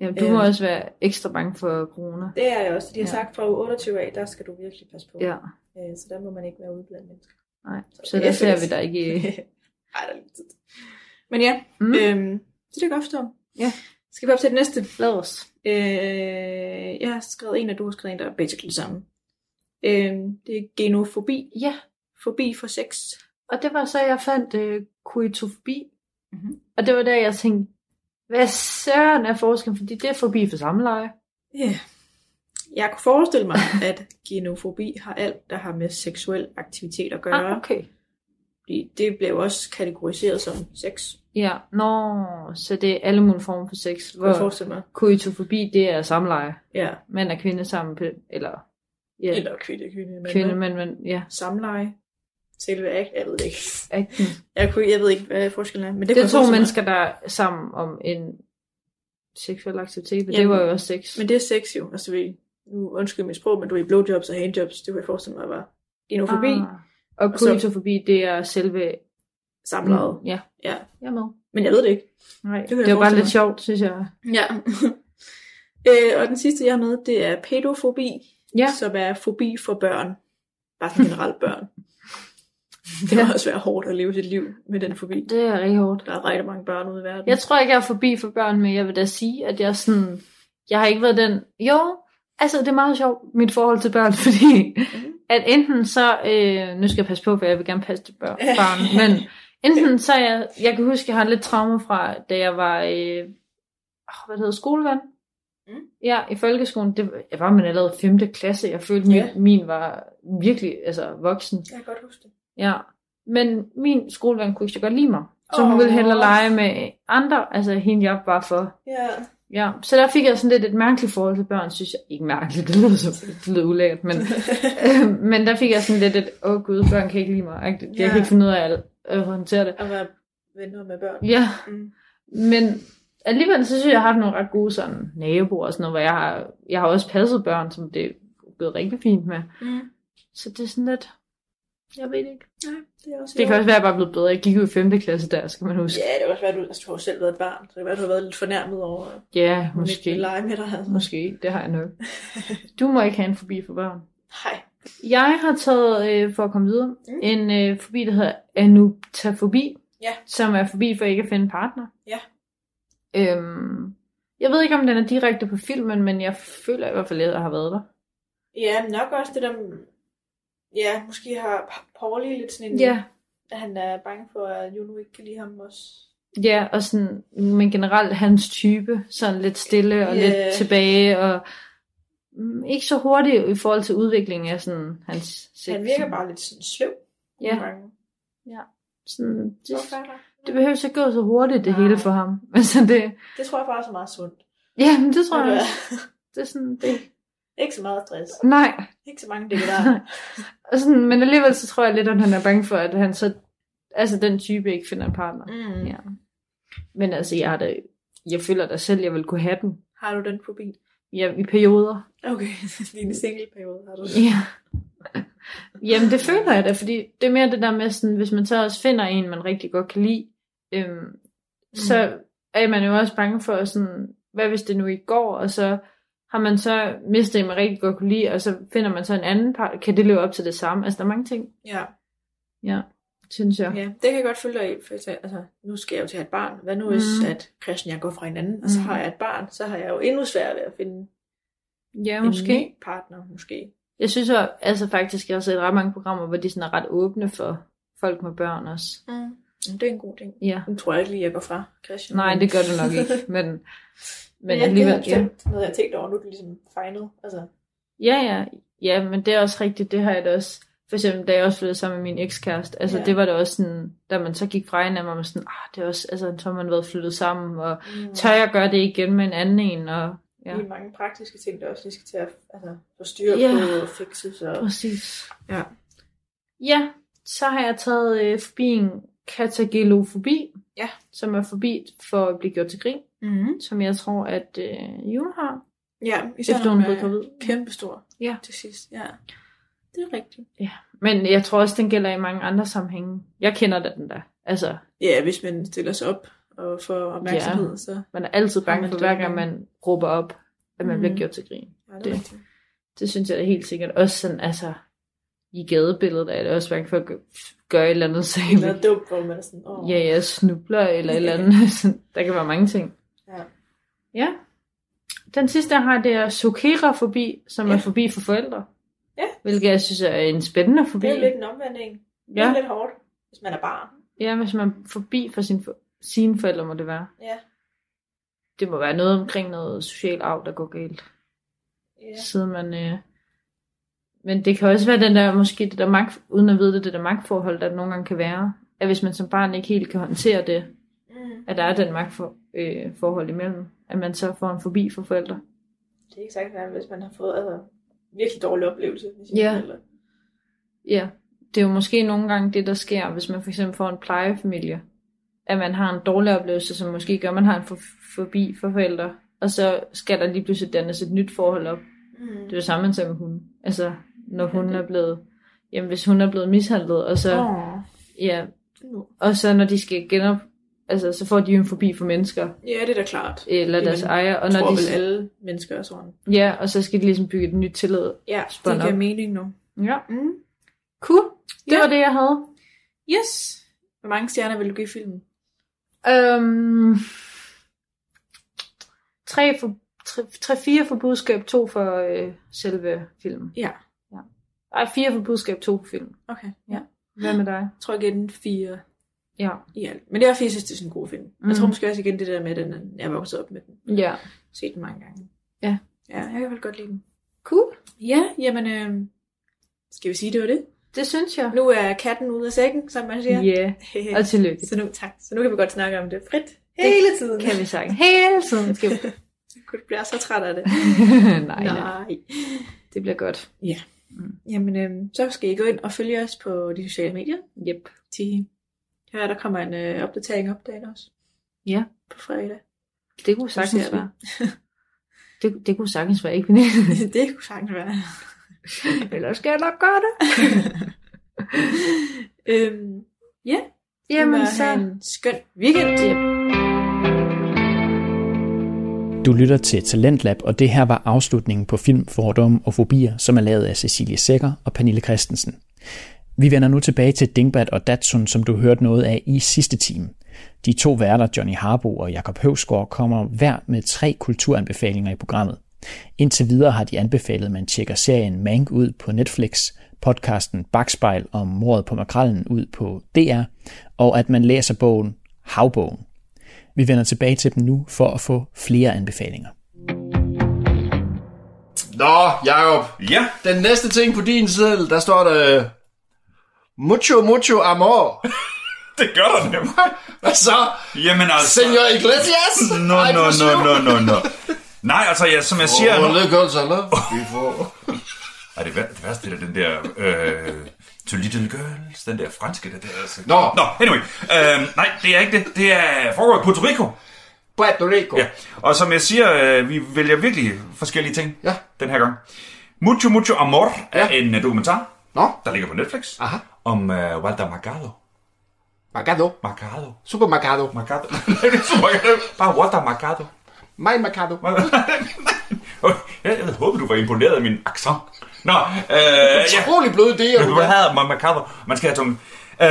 Speaker 2: Jamen, du må
Speaker 3: Øh.
Speaker 2: også være ekstra bange for corona.
Speaker 3: Det er jeg også. De har
Speaker 2: Ja.
Speaker 3: sagt fra uge 28 af, der skal du virkelig passe på.
Speaker 2: Ja,
Speaker 3: Øh, Så der må man ikke være ude blandt mennesker.
Speaker 2: nej. Så
Speaker 3: Ja,
Speaker 2: der
Speaker 3: så det-
Speaker 2: ser vi dig ikke i...
Speaker 3: Ej, der er lidt tid. Men ja,
Speaker 2: Mm.
Speaker 3: øhm, så det er godt forstå.
Speaker 2: Ja.
Speaker 3: Skal vi op til det næste?
Speaker 2: Lad os.
Speaker 3: Øh, jeg har skrevet en, og du har skrevet en, der er basically det samme. Øh, det er genofobi.
Speaker 2: Ja,
Speaker 3: Fobi for sex.
Speaker 2: og det var så, jeg fandt øh, koetofobi.
Speaker 3: Mhm.
Speaker 2: Og det var der, jeg tænkte, hvad søren er forskellen? Fordi det er forbi for samleje.
Speaker 3: Ja. Yeah. Jeg kunne forestille mig, at genofobi har alt, der har med seksuel aktivitet at gøre.
Speaker 2: Ah, okay.
Speaker 3: Fordi det blev jo også kategoriseret som sex,
Speaker 2: Ja, nå, så det er alle mulige former for sex.
Speaker 3: kunne jeg
Speaker 2: Hvor
Speaker 3: forestille mig.
Speaker 2: koetofobi, det er samleje.
Speaker 3: Ja.
Speaker 2: Mænd og kvinde sammen, på- eller... Ja,
Speaker 3: Eller kvinde, kvinde, mænd.
Speaker 2: kvinde, mænd, mænd, ja.
Speaker 3: Samleje. Selve act, jeg ved det ikke.
Speaker 2: Akten.
Speaker 3: Jeg, kunne, jeg ved ikke, hvad forskellen er. Mm. Men det,
Speaker 2: Det
Speaker 3: kunne
Speaker 2: er
Speaker 3: jeg
Speaker 2: to
Speaker 3: forestille
Speaker 2: mennesker,
Speaker 3: mig.
Speaker 2: der er sammen om en seksuel aktivitet, men det
Speaker 3: Jamen,
Speaker 2: var jo også sex.
Speaker 3: Men det er sex jo. Altså, vi, nu undskyld mit sprog, men du er i blowjobs og handjobs. Det kunne jeg forestille mig var genofobi. Ah.
Speaker 2: Og
Speaker 3: Og så-
Speaker 2: koetofobi, det er selve...
Speaker 3: Samleje.
Speaker 2: Ja.
Speaker 3: Ja.
Speaker 2: Jeg er med.
Speaker 3: Men jeg ved det ikke.
Speaker 2: Nej,
Speaker 3: kan jeg
Speaker 2: det, det var bare
Speaker 3: forestille
Speaker 2: lidt
Speaker 3: mig.
Speaker 2: sjovt, synes jeg.
Speaker 3: Ja. øh, og den sidste, jeg har med, det er pædofobi.
Speaker 2: Ja,
Speaker 3: som er fobi for børn. Bare sådan generelt børn. Det må
Speaker 2: Ja.
Speaker 3: også være hårdt at leve sit liv med den fobi.
Speaker 2: det er rigtig hårdt.
Speaker 3: Der er rigtig mange børn ude i verden.
Speaker 2: Jeg tror ikke, jeg er forbi for børn, men jeg vil da sige, at jeg sådan... Jeg har ikke været den... Jo, altså det er meget sjovt, mit forhold til børn, fordi at enten så... Øh, nu skal jeg passe på, for jeg vil gerne passe til børn, barn, men enten så er jeg... Jeg kan huske, jeg har lidt traume fra, da jeg var... Øh, åh, hvad det hedder skolevand?
Speaker 3: Mm.
Speaker 2: Ja, i folkeskolen. Det, jeg var man allerede 5. klasse. Jeg følte, min,
Speaker 3: Ja.
Speaker 2: min var virkelig altså, voksen.
Speaker 3: jeg kan godt huske det.
Speaker 2: Ja, men min skoleven kunne ikke så godt lide mig. Så hun
Speaker 3: Åh.
Speaker 2: ville hellere lege med andre, altså hende jeg var for.
Speaker 3: Ja.
Speaker 2: Ja, så der fik jeg sådan lidt et mærkeligt forhold til børn, synes jeg. Ikke mærkeligt, det lyder, så, det lyder ulækkert, men, øh, men der fik jeg sådan lidt et, åh oh, gud, børn kan ikke lide mig. Jeg, jeg
Speaker 3: Ja.
Speaker 2: kan ikke finde ud af at, at håndtere det.
Speaker 3: At være venner med børn.
Speaker 2: Ja,
Speaker 3: Mm.
Speaker 2: men alligevel så synes jeg, jeg har haft nogle ret gode sådan, naboer og sådan noget, hvor jeg har, jeg har også passet børn, som det er gået rigtig fint med.
Speaker 3: Mm.
Speaker 2: Så det er sådan lidt, jeg ved det ikke.
Speaker 3: Nej, det er også
Speaker 2: Det kan også være, at jeg bare er blevet bedre. Jeg gik jo i 5. klasse der, skal man huske.
Speaker 3: Ja, det kan også være, at du, altså, du har jo selv været et barn, så det kan være, at du har været lidt fornærmet over, at
Speaker 2: Ja, yeah,
Speaker 3: hun ikke
Speaker 2: måske.
Speaker 3: vil lege med dig. Altså.
Speaker 2: Måske, det har jeg nok. Du må ikke have en fobi for børn.
Speaker 3: Nej.
Speaker 2: Jeg har taget, øh, for at komme videre,
Speaker 3: Mm.
Speaker 2: mm. en øh, fobi, der hedder anuptafobi.
Speaker 3: Ja.
Speaker 2: Som er fobi for ikke at finde en partner.
Speaker 3: Ja.
Speaker 2: Øhm, jeg ved ikke, om den er direkte på filmen, men jeg føler i hvert fald, at jeg har været der.
Speaker 3: Ja, men nok også det der... Ja, måske har Pauli lidt sådan en... At han er bange for, at Juno ikke kan lide ham også.
Speaker 2: Ja, og sådan, men generelt hans type, sådan lidt stille og
Speaker 3: Ja.
Speaker 2: lidt tilbage, og mm, ikke så hurtigt i forhold til udviklingen af sådan hans sex.
Speaker 3: Han virker bare lidt sådan sløv.
Speaker 2: Ja.
Speaker 3: nogle gange.
Speaker 2: Sådan, det,
Speaker 3: Hvorfor Ah. er der-
Speaker 2: det behøver ikke gå så hurtigt, det
Speaker 3: Nej.
Speaker 2: hele for ham. Altså det,
Speaker 3: Det tror jeg faktisk er meget sundt.
Speaker 2: ja, men det tror
Speaker 3: Ved
Speaker 2: jeg
Speaker 3: du
Speaker 2: også. Det er sådan, det,
Speaker 3: hvad? Ikke så meget stress.
Speaker 2: nej.
Speaker 3: Ikke så mange dele der.
Speaker 2: Og sådan, men alligevel så tror jeg lidt, at han er bange for, at han så, altså den type ikke finder en partner.
Speaker 3: Mm.
Speaker 2: Ja. Men altså, jeg, har da, jeg føler da selv, jeg vil kunne have den.
Speaker 3: Har du den fobi?
Speaker 2: Ja, i perioder.
Speaker 3: Okay, din singleperiode har du.
Speaker 2: Ja. Jamen, det føler jeg da, fordi det er mere det der med, sådan, hvis man så også finder en, man rigtig godt kan lide, øhm, mm. så er man jo også bange for sådan, hvad hvis det nu ikke går, og så har man så mistet en, man rigtig godt kunne lide, og så finder man så en anden part, kan det leve op til det samme? Altså, der er mange ting,
Speaker 3: Ja.
Speaker 2: ja, synes jeg.
Speaker 3: ja, det kan jeg godt følge dig i. For jeg tænker, altså, nu skal jeg jo til at have et barn. Hvad nu hvis,
Speaker 2: Mhm.
Speaker 3: at Christian og jeg går fra hinanden, og så
Speaker 2: Mhm.
Speaker 3: har jeg et barn, så har jeg jo endnu sværere ved at finde
Speaker 2: Ja,
Speaker 3: en ny partner, måske.
Speaker 2: Øhm, Jeg synes jo, altså faktisk, jeg har set ret mange programmer, hvor de sådan er ret åbne for folk med børn også.
Speaker 3: Mm. Det er en god ting.
Speaker 2: Ja.
Speaker 3: Nu tror jeg ikke lige, jeg går fra Christian.
Speaker 2: Nej, det gør du nok ikke, men, men,
Speaker 3: Men
Speaker 2: men
Speaker 3: jeg, alligevel,
Speaker 2: alligevel,
Speaker 3: det er
Speaker 2: ja. Mm.
Speaker 3: bestemt noget, jeg har tænkt over, nu er det ligesom fejnet. Altså,
Speaker 2: Ja, ja. Ja, men det er også rigtigt. Det har jeg da også. For eksempel, da jeg også flyttede sammen med min ekskæreste, altså
Speaker 3: Ja.
Speaker 2: ja. det var da også sådan, da man så gik fra hinanden, var man sådan, ah, det er også, altså, så har man været flyttet sammen, og
Speaker 3: mm,
Speaker 2: tør jeg gøre det igen med en anden en, og
Speaker 3: ja.
Speaker 2: ja.
Speaker 3: Lige mange praktiske ting, der også lige skal til at altså, få styr
Speaker 2: Ja.
Speaker 3: på og fikses. Og...
Speaker 2: Præcis.
Speaker 3: Ja.
Speaker 2: Ja, så har jeg taget øh, fobien katagelofobi,
Speaker 3: Ja.
Speaker 2: som er forbi for at blive gjort til grin,
Speaker 3: Mm-hmm.
Speaker 2: som jeg tror, at øh, June har,
Speaker 3: Ja, især
Speaker 2: efter
Speaker 3: Efter
Speaker 2: hun
Speaker 3: hun
Speaker 2: blev gravid.
Speaker 3: kæmpe stor
Speaker 2: Ja.
Speaker 3: til sidst. Ja, det er rigtigt.
Speaker 2: Men jeg tror også, den gælder i mange andre sammenhænge. Jeg kender da den der. Altså,
Speaker 3: Ja, hvis man stiller sig op og får opmærksomhed, ja. så
Speaker 2: Man er altid
Speaker 3: Har
Speaker 2: bange
Speaker 3: man
Speaker 2: for,
Speaker 3: det
Speaker 2: hver
Speaker 3: med?
Speaker 2: gang man råber op, at man
Speaker 3: Mhm.
Speaker 2: bliver gjort til grin.
Speaker 3: ja, det er
Speaker 2: Det-
Speaker 3: rigtigt.
Speaker 2: Det synes jeg da helt sikkert. Også sådan, altså, i gadebilledet er det også bange for at gø- gøre et eller andet, så
Speaker 3: Det er noget dumt, hvor man er sådan, åh,
Speaker 2: ja, jeg snubler eller et eller andet. Sådan, der kan være mange ting.
Speaker 3: Ja.
Speaker 2: Ja. Den sidste, jeg har, det er sokerafobi, som
Speaker 3: Ja.
Speaker 2: er forbi for forældre.
Speaker 3: Ja.
Speaker 2: Hvilket jeg synes er en spændende forbi.
Speaker 3: det er lidt en omvending. Det er
Speaker 2: ja.
Speaker 3: lidt hårdt, hvis man er barn.
Speaker 2: ja, hvis man er forbi for sin, for, sine forældre, må det være.
Speaker 3: Ja.
Speaker 2: Det må være noget omkring noget social arv, der går galt.
Speaker 3: Ja.
Speaker 2: siden man... Øh... Men det kan også være den der, måske det der magt, uden at vide det, det der magtforhold, der nogle gange kan være, at hvis man som barn ikke helt kan håndtere det,
Speaker 3: Mm.
Speaker 2: at der er den magtforhold øh, forhold imellem, at man så får en forbi for forældre.
Speaker 3: Det er ikke sagt, at hvis man har fået altså, virkelig dårlig oplevelse med sine
Speaker 2: Ja.
Speaker 3: forældre.
Speaker 2: Ja, det er jo måske nogle gange det, der sker, hvis man for eksempel får en plejefamilie, at man har en dårlig oplevelse, som måske gør, at man har en for, forbi for forældre, og så skal der lige pludselig dannes et nyt forhold op,
Speaker 3: Mm.
Speaker 2: Det er jo samme som med hun. Altså, når hun er blevet... Jamen, hvis hun er blevet mishandlet, og så... Oh.
Speaker 3: Åh.
Speaker 2: Ja, og så når de skal genop... Altså, så får de jo en forbi for mennesker,
Speaker 3: Ja, det er da klart.
Speaker 2: eller
Speaker 3: Jamen,
Speaker 2: deres ejer, og
Speaker 3: Jeg
Speaker 2: når de...
Speaker 3: tror vel alle mennesker er sådan.
Speaker 2: Ja, og så skal de ligesom bygge et nyt tillid.
Speaker 3: Ja,
Speaker 2: Spånd
Speaker 3: det giver
Speaker 2: op.
Speaker 3: mening nu.
Speaker 2: Ja.
Speaker 3: Mm.
Speaker 2: Cool. Det
Speaker 3: Ja.
Speaker 2: var det, jeg havde.
Speaker 3: Yes! Hvor mange stjerner vil du give filmen?
Speaker 2: Øhm, tre, for, tre, tre, fire for budskab, to for øh, selve filmen.
Speaker 3: Ja.
Speaker 2: ja. Ej, fire for budskab, to for filmen.
Speaker 3: Okay,
Speaker 2: ja. Hvad med dig?
Speaker 3: Jeg tror igen fire
Speaker 2: Ja.
Speaker 3: i alt. Men det er fordi, jeg synes, det er sådan en god film. Mm. Jeg
Speaker 2: Mm.
Speaker 3: tror måske også igen det der med, at den er- jeg er vokset op med den.
Speaker 2: Ja.
Speaker 3: Set den mange gange.
Speaker 2: Ja.
Speaker 3: Ja, jeg kan vel godt lide den.
Speaker 2: Cool.
Speaker 3: Ja, jamen, øh, skal vi sige, det var det?
Speaker 2: Det synes jeg.
Speaker 3: Nu er katten ude af sækken, som man siger.
Speaker 2: Ja, yeah. og tillykke.
Speaker 3: så nu, tak. Så nu kan vi godt snakke om det frit hele tiden.
Speaker 2: Kan vi sagt. Hele tiden skal vi.
Speaker 3: Gud, bliver så træt af det.
Speaker 2: nej, nej, det bliver godt.
Speaker 3: Jamen, øhm, så skal I gå ind og følge os på de sociale medier.
Speaker 2: Yep.
Speaker 3: De, her der kommer en øh, opdatering op dagen også.
Speaker 2: Ja.
Speaker 3: På fredag.
Speaker 2: Det kunne sagtens
Speaker 3: ser vi.
Speaker 2: være. Det, det kunne sagtens være, ikke? Pernille?
Speaker 3: det kunne sagtens være.
Speaker 2: Ellers skal jeg nok gøre det.
Speaker 3: øhm,
Speaker 2: Jamen
Speaker 3: I må
Speaker 2: så.
Speaker 3: have en skøn weekend.
Speaker 2: Yep.
Speaker 1: Du lytter til Talentlab, og det her var afslutningen på Film, Fordom og Fobier, som er lavet af Cecilie Sækker og Pernille Christensen. Vi vender nu tilbage til Dingbat og Datsun, som du hørte noget af i sidste time. De to værter, Johnny Harbo og Jakob Høvsgaard, kommer hver med tre kulturanbefalinger i programmet. Indtil videre har de anbefalet, at man tjekker serien Mank ud på Netflix, podcasten Bakspejl om mordet på makrallen ud på DR, og at man læser bogen Havbogen. Vi vender tilbage til dem nu for at få flere anbefalinger.
Speaker 4: Nå, Jacob.
Speaker 5: Ja,
Speaker 4: Den næste ting på din side, der står der... Mucho, mucho amor.
Speaker 5: det gør der nemlig.
Speaker 4: Hvad så?
Speaker 5: Jamen altså...
Speaker 4: Senor Iglesias?
Speaker 5: No, no, no, no, no, no. Nej, altså, ja, som jeg siger...
Speaker 4: Oh,
Speaker 5: Nu...
Speaker 4: look also love before.
Speaker 5: Ej, det, vær- det værste det er den der... Øh, to little girls, den der franske, det der... Altså.
Speaker 4: Nå.
Speaker 5: Nå, anyway. Øh, nej, det er ikke det. Det er foregår i Puerto Rico.
Speaker 4: Puerto Rico.
Speaker 5: Ja. Og som jeg siger, øh, vi vælger virkelig forskellige ting
Speaker 4: Ja.
Speaker 5: den her gang. Mucho Mucho Amor er
Speaker 4: Ja.
Speaker 5: en øh, dokumentar,
Speaker 4: Nå,
Speaker 5: der ligger på Netflix,
Speaker 4: Aha.
Speaker 5: om øh, Walter Magalo.
Speaker 4: Marcado.
Speaker 5: Marcado.
Speaker 4: Supermercado.
Speaker 5: Marcado. Nej, det er supermercado. Bare what the marcado.
Speaker 4: My Mercado.
Speaker 5: Okay, Jeg jeg havde håbet, du var imponeret af min accent. Nå, øh, ja.
Speaker 4: Utrolig bløde idéer, du
Speaker 5: Hvad
Speaker 4: har.
Speaker 5: hedder man Mercado? Man skal have tungen. Uh,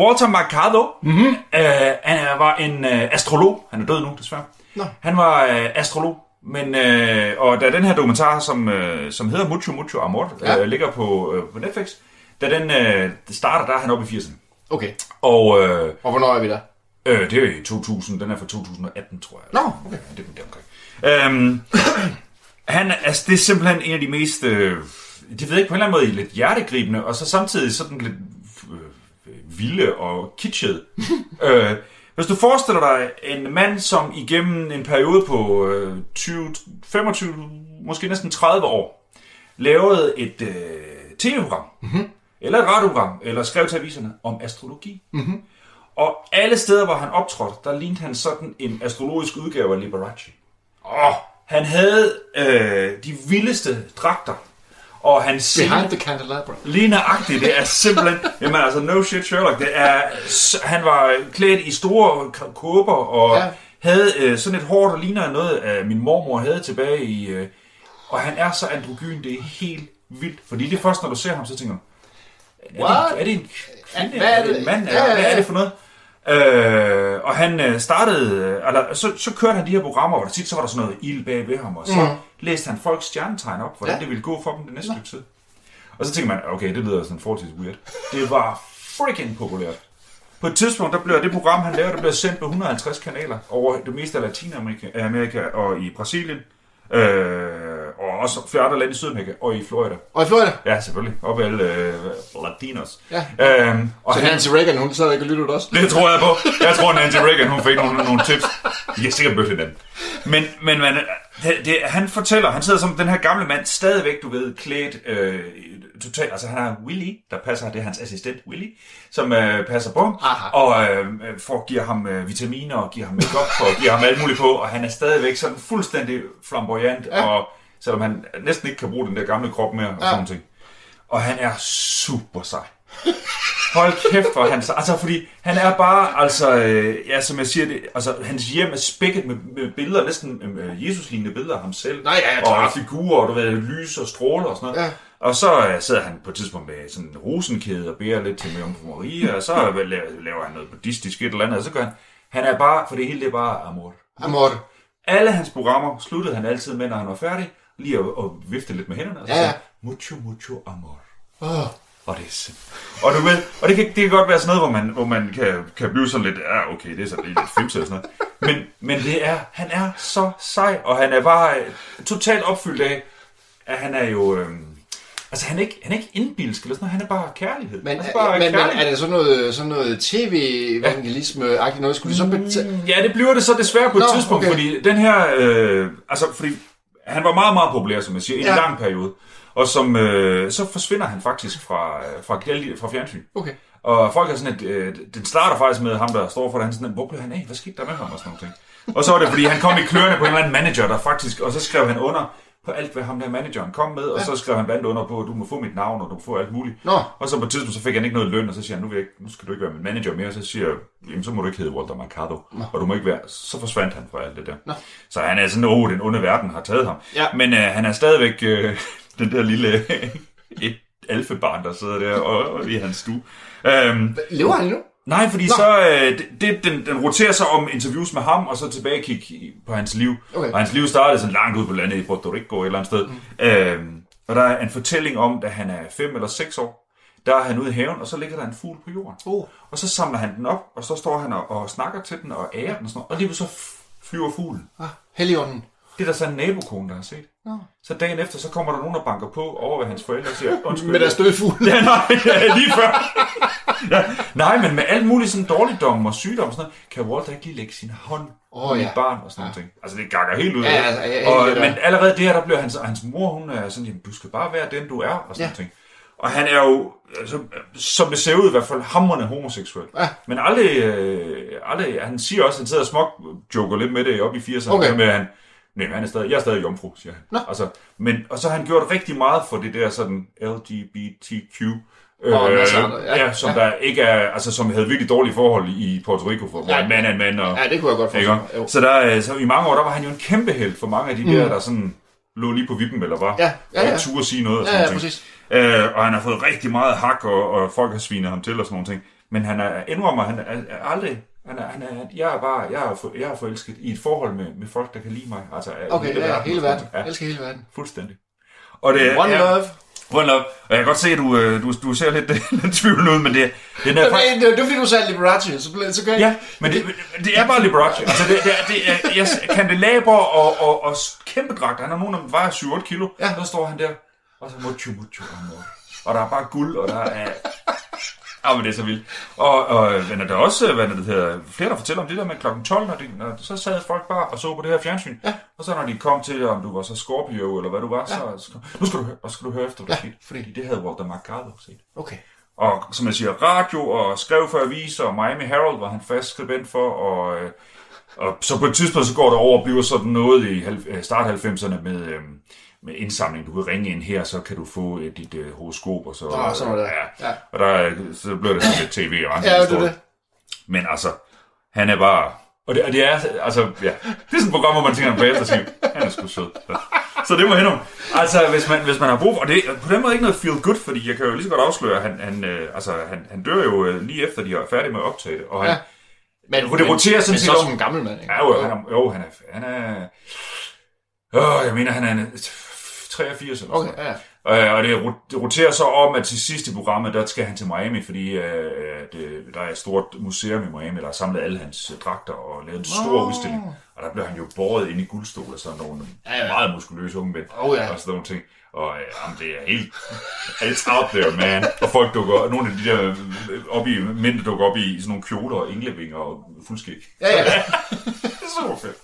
Speaker 5: Walter Mercado,
Speaker 4: Mhm.
Speaker 5: mm-hmm. uh, han øh, var en uh, astrolog. Han er død nu, desværre.
Speaker 4: Nå.
Speaker 5: Han var uh, astrolog. Men, øh, og da den her dokumentar, som, øh, som hedder Mucho Mucho Amor, ja.
Speaker 4: Ja.
Speaker 5: øh, ligger på, øh, på Netflix, da den øh, starter, der er han oppe i 80'erne.
Speaker 4: Okay,
Speaker 5: Og øh,
Speaker 4: og hvornår er vi der?
Speaker 5: øh, det er i 2000, den er fra 2018, tror jeg.
Speaker 4: Nå, okay.
Speaker 5: Ja, det er det omkring. Øhm, han, er- altså, det er simpelthen en af de mest, øh, det ved jeg ikke, på en eller anden måde lidt hjertegribende, og så samtidig sådan lidt øh, vilde og kitschet. øh, hvis du forestiller dig en mand, som igennem en periode på øh, 20, 25, måske næsten 30 år, lavede et øh, tv-program, mm-hmm. eller et radioprogram, eller skrev til aviserne om astrologi. Og alle steder, hvor han optrådte, der lignede han sådan en astrologisk udgave af Liberace. Åh, han havde øh, de vildeste dragter, og han
Speaker 4: Behind the candelabra.
Speaker 5: Ligneragtigt, det er simpelthen... Jamen altså, no shit Sherlock, det er... s- Han var klædt i store k- kåber og
Speaker 4: Ja.
Speaker 5: ja. havde øh, sådan et hår, der ligner noget, af min mormor havde tilbage i... Øh, og han er så androgyn, det er helt vildt. Fordi det er først, når du ser ham, så tænker du... Er
Speaker 4: What?
Speaker 5: det, er det en kvinde?
Speaker 4: Hvad er
Speaker 5: er, det en
Speaker 4: det?
Speaker 5: mand?
Speaker 4: Ja, ja,
Speaker 5: Ja,
Speaker 4: ja.
Speaker 5: Hvad er det for noget? Øh, og han øh, startede, øh, eller så, så kørte han de her programmer, hvor der tit så var der sådan noget ild bag ved ham, og så mm. læste han folks stjernetegn op, hvordan
Speaker 4: Ja.
Speaker 5: ja. det ville gå for dem den næste stykke tid. Og så tænker man, okay, det lyder sådan forholdsvis weird. Det var freaking populært. På et tidspunkt, der blev det program, han lavede, der blev sendt på 150 kanaler over det meste af Latinamerika øh, Amerika og i Brasilien, øh, og også flere andre lande i Sydamerika og i Florida.
Speaker 4: Og i Florida.
Speaker 5: Ja, selvfølgelig. Op i alle øh, latinos.
Speaker 4: Ja.
Speaker 5: Øhm, og
Speaker 4: Så
Speaker 5: han,
Speaker 4: Nancy Reagan, hun sad ikke og lyttede også.
Speaker 5: det tror jeg på. Jeg tror, Nancy Reagan, hun fik nogle, nogle tips. Jeg er sikkert mødt hinanden. Men, men man, det, det, han fortæller, han sidder som den her gamle mand, stadigvæk, du ved, klædt øh, totalt. Altså, han har Willy, der passer, det er hans assistent Willy, som øh, passer på ham,
Speaker 4: Aha.
Speaker 5: og øh, øh, får, giver ham øh, vitaminer, og giver ham makeup og giver ham alt muligt på, og han er stadigvæk sådan fuldstændig flamboyant, ja. og selvom han næsten ikke kan bruge den der gamle krop mere, og ja. sådan nogle ting. Og han er super sej. Hold kæft, hvor er han så... Altså, fordi han er bare, altså... Øh, ja, som jeg siger det... Altså, hans hjem er spækket med, med billeder, næsten øh, Jesus-lignende billeder af ham selv.
Speaker 4: Nej, ja, ja,
Speaker 5: og
Speaker 4: klart.
Speaker 5: figurer, og du ved, lys og stråler og sådan noget.
Speaker 4: Ja.
Speaker 5: Og så øh, sidder han på et tidspunkt med sådan en rosenkæde og beder lidt til Mømfru Maria, og så øh, la- laver han noget buddhistisk et eller andet, og så gør han... Han er bare... For det hele, det er bare amor.
Speaker 4: Amor.
Speaker 5: Alle hans programmer sluttede han altid med, når han var færdig, lige at, at vifte lidt med hænderne, og så
Speaker 4: Ja, ja.
Speaker 5: sagde han, mucho, mucho amor.
Speaker 4: Åh.
Speaker 5: Og det er simpelthen... Og, du ved, og det, kan, det kan godt være sådan noget, hvor man, hvor man kan, kan blive sådan lidt, ja, okay, det er sådan lidt fimset og sådan noget. Men, men det er, han er så sej, og han er bare øh, totalt opfyldt af, at han er jo... Øh, altså, han er ikke, han er ikke indbilsk eller sådan noget, han er bare kærlighed.
Speaker 4: Men,
Speaker 5: altså,
Speaker 4: er,
Speaker 5: bare
Speaker 4: men, men
Speaker 5: kærlighed.
Speaker 4: er det sådan noget, sådan noget tv-evangelisme-agtigt noget? Skulle vi så betale?
Speaker 5: Mm, Ja, det bliver det så desværre på et
Speaker 4: Nå,
Speaker 5: Nå, tidspunkt,
Speaker 4: okay.
Speaker 5: okay. fordi den her, øh, altså fordi han var meget, meget populær, som jeg siger, i en
Speaker 4: Ja.
Speaker 5: ja. lang periode. Og som, øh, så forsvinder han faktisk fra, øh, fra, Gjaldi- fra fjernsyn.
Speaker 4: Okay.
Speaker 5: Og folk er sådan, at øh, den starter faktisk med ham, der står for det, han er sådan, hvor blev han af? Hvad skete der med ham? Og sådan noget. Og så var det, fordi han kom i kløerne på en eller anden manager, der faktisk, og så skrev han under på alt, hvad ham der manageren kom med, og så skrev han blandt andet under på, at du må få mit navn, og du må få alt muligt.
Speaker 4: Nå.
Speaker 5: Og så på et tidspunkt, så fik han ikke noget løn, og så siger han, nu, vil jeg ikke, nu skal du ikke være min manager mere. Så siger jeg, jamen så må du ikke hedde Walter Mercado. Og du må ikke være, så forsvandt han fra alt det der.
Speaker 4: Nå.
Speaker 5: Så han er sådan, åh, den onde verden har taget ham.
Speaker 4: Ja.
Speaker 5: Men øh, han er stadigvæk øh, den der lille et alfebarn, der sidder der og, og i hans stue. Øhm,
Speaker 4: Lever han nu?
Speaker 5: nej, fordi Nå. så øh, det- det, den, den roterer sig om interviews med ham, og så tilbagekig i- på hans liv.
Speaker 4: Okay.
Speaker 5: Og hans liv startede sådan langt ud på landet i Puerto Rico et eller andet sted. Mm. Øhm, og der er en fortælling om, da han er 5 eller 6 år, der er han ude i haven, og så ligger der en fugl på jorden.
Speaker 4: Oh.
Speaker 5: Og så samler han den op, og så står han og, og snakker til den og ærer den og sådan noget. Og lige pludselig så f- flyver fuglen.
Speaker 4: Ah, Helligånden.
Speaker 5: Det er der så en nabokone, der har set.
Speaker 4: Nå.
Speaker 5: Så dagen efter, så kommer der nogen og banker på over ved hans forældre og siger, undskyld.
Speaker 4: Med deres døde fugle.
Speaker 5: Ja, nej, ja, lige før. Ja, nej, men med alt muligt sådan dårligdom og sygdom og sådan noget, kan Walter ikke lige lægge sin hånd
Speaker 4: Åh,
Speaker 5: oh, på mit
Speaker 4: ja.
Speaker 5: barn og sådan ja. ting. Altså, det gakker helt ud.
Speaker 4: Ja,
Speaker 5: ikke?
Speaker 4: altså, ja, helt
Speaker 5: og,
Speaker 4: vildt, ja.
Speaker 5: men allerede der, der bliver hans, og hans mor, hun er sådan, jamen, du skal bare være den, du er, og sådan
Speaker 4: Ja.
Speaker 5: ja. ting. Og han er jo, altså, som det ser ud i hvert fald, hamrende homoseksuel.
Speaker 4: Ja.
Speaker 5: Men aldrig, øh, aldrig, han siger også, han sidder og smok, joker lidt med det op i 80'erne,
Speaker 4: Okay.
Speaker 5: okay. med at han, nej, men han er stadig, jeg er stadig jomfru, siger han.
Speaker 4: Nå.
Speaker 5: Altså, men, og så har han gjort rigtig meget for det der sådan LGBTQ
Speaker 4: Og en masse andre, ja.
Speaker 5: ja, som
Speaker 4: Ja.
Speaker 5: der ikke er, altså som havde virkelig dårlige forhold i Puerto Rico, for, hvor
Speaker 4: Ja.
Speaker 5: en mand er en mand, og
Speaker 4: Ja, det kunne jeg godt
Speaker 5: Ikke?
Speaker 4: forstå. Jo. Mm.
Speaker 5: Så, der, øh, så i mange år, der var han jo en kæmpe held for mange af de der, der sådan lå lige på vippen, eller var.
Speaker 4: Ja, ja, ja.
Speaker 5: Og turde sige noget. Og
Speaker 4: Ja,
Speaker 5: sådan
Speaker 4: ja,
Speaker 5: nogle ting.
Speaker 4: præcis.
Speaker 5: Øh, og han har fået rigtig meget hak, og, og folk har svinet ham til og sådan nogle ting. Men han er, indrømmer, han er, er aldrig... Han er, han er, jeg er bare jeg er, for, jeg er forelsket i et forhold med, med folk, der kan lide mig. Altså, af
Speaker 4: Okay, ja, ja, hele verden. Jeg
Speaker 5: Ja,
Speaker 4: elsker hele verden.
Speaker 5: fuldstændig. Og det,
Speaker 4: One
Speaker 5: ja,
Speaker 4: love.
Speaker 5: One love. Og jeg kan godt se, at du, øh, du, du ser lidt, lidt tvivlende ud, men det, den er,
Speaker 4: Det var- Det var fordi, du sagde Liberace, så blev så kan
Speaker 5: Ja, men det, men det er bare Liberace. Altså, det, det, er- det er jeg, kandelaber og, og, og kæmpe dragt. Han har nogen, der vejer 7-8 kilo.
Speaker 4: Ja.
Speaker 5: Ja. Så står han der, og så mucho, mucho amor. Og der er bare guld, og der er... Ja, men det er så vildt. Og, og øh, men er der er også hvad er det, hedder, flere, der fortæller om det der med klokken 12, når, de, når så sad folk bare og så på det her fjernsyn. Ja. Og så når de kom til, om du var så Scorpio, eller hvad du var, ja. så, så kom, nu skal du, høre- og så skal du høre efter, hvad der
Speaker 4: Ja,
Speaker 5: ja, skete.
Speaker 4: fordi-
Speaker 5: Fordi det havde Walter Mercado set.
Speaker 4: Okay.
Speaker 5: Og som jeg siger, radio og skrev for aviser, og Miami Herald var han fast skribent for, og, øh, og så på et tidspunkt så går det over og bliver sådan noget i halv- øh, start 90'erne med, øh, med indsamling. Du kan ringe ind her, så kan du få øh, dit øh, horoskop, og så, øh,
Speaker 4: Nå, sådan noget der. Ja.
Speaker 5: ja. ja. og der, øh, så bliver det sådan lidt tv og andre
Speaker 4: Ja, det er
Speaker 5: historier.
Speaker 4: det.
Speaker 5: Men altså, han er bare... Og det, og det er, altså, ja, det er sådan et program, hvor man tænker, på efter siger, han er sgu sød. Så, så det må hen om. Altså, hvis man, hvis man har brug for... Og det er på den måde ikke noget feel good, fordi jeg kan jo lige så godt afsløre, at han, han, øh, altså, han, han dør jo øh, lige efter, de er færdige med at optage det. Og han,
Speaker 4: Ja.
Speaker 5: ja.
Speaker 4: Men,
Speaker 5: Jo, det roterer sådan
Speaker 4: men,
Speaker 5: set
Speaker 4: men så
Speaker 5: om-
Speaker 4: som en gammel mand, ikke?
Speaker 5: Ja, jo, han er, jo, han er... Han er øh, jeg mener, han er en- 83 eller sådan
Speaker 4: Okay,
Speaker 5: noget.
Speaker 4: ja, ja.
Speaker 5: Øh, og det, ro- det roterer så om, at til sidst i programmet, der skal han til Miami, fordi øh, at, øh, der er et stort museum i Miami, der har samlet alle hans øh, dragter og lavet en stor
Speaker 4: Nå.
Speaker 5: udstilling. Og der blev han jo båret ind i guldstol af sådan nogle
Speaker 4: Ja, ja.
Speaker 5: meget muskuløse unge mænd.
Speaker 4: Oh, ja.
Speaker 5: Og sådan nogle ting. Og øh, jamen, det er helt... It's out there, man. Og folk dukker... og Nogle af de der øh, op i, mænd, der dukker op i sådan nogle kjoler og englevinger og fuldskæg.
Speaker 4: Ja, ja.
Speaker 5: Det er super fedt.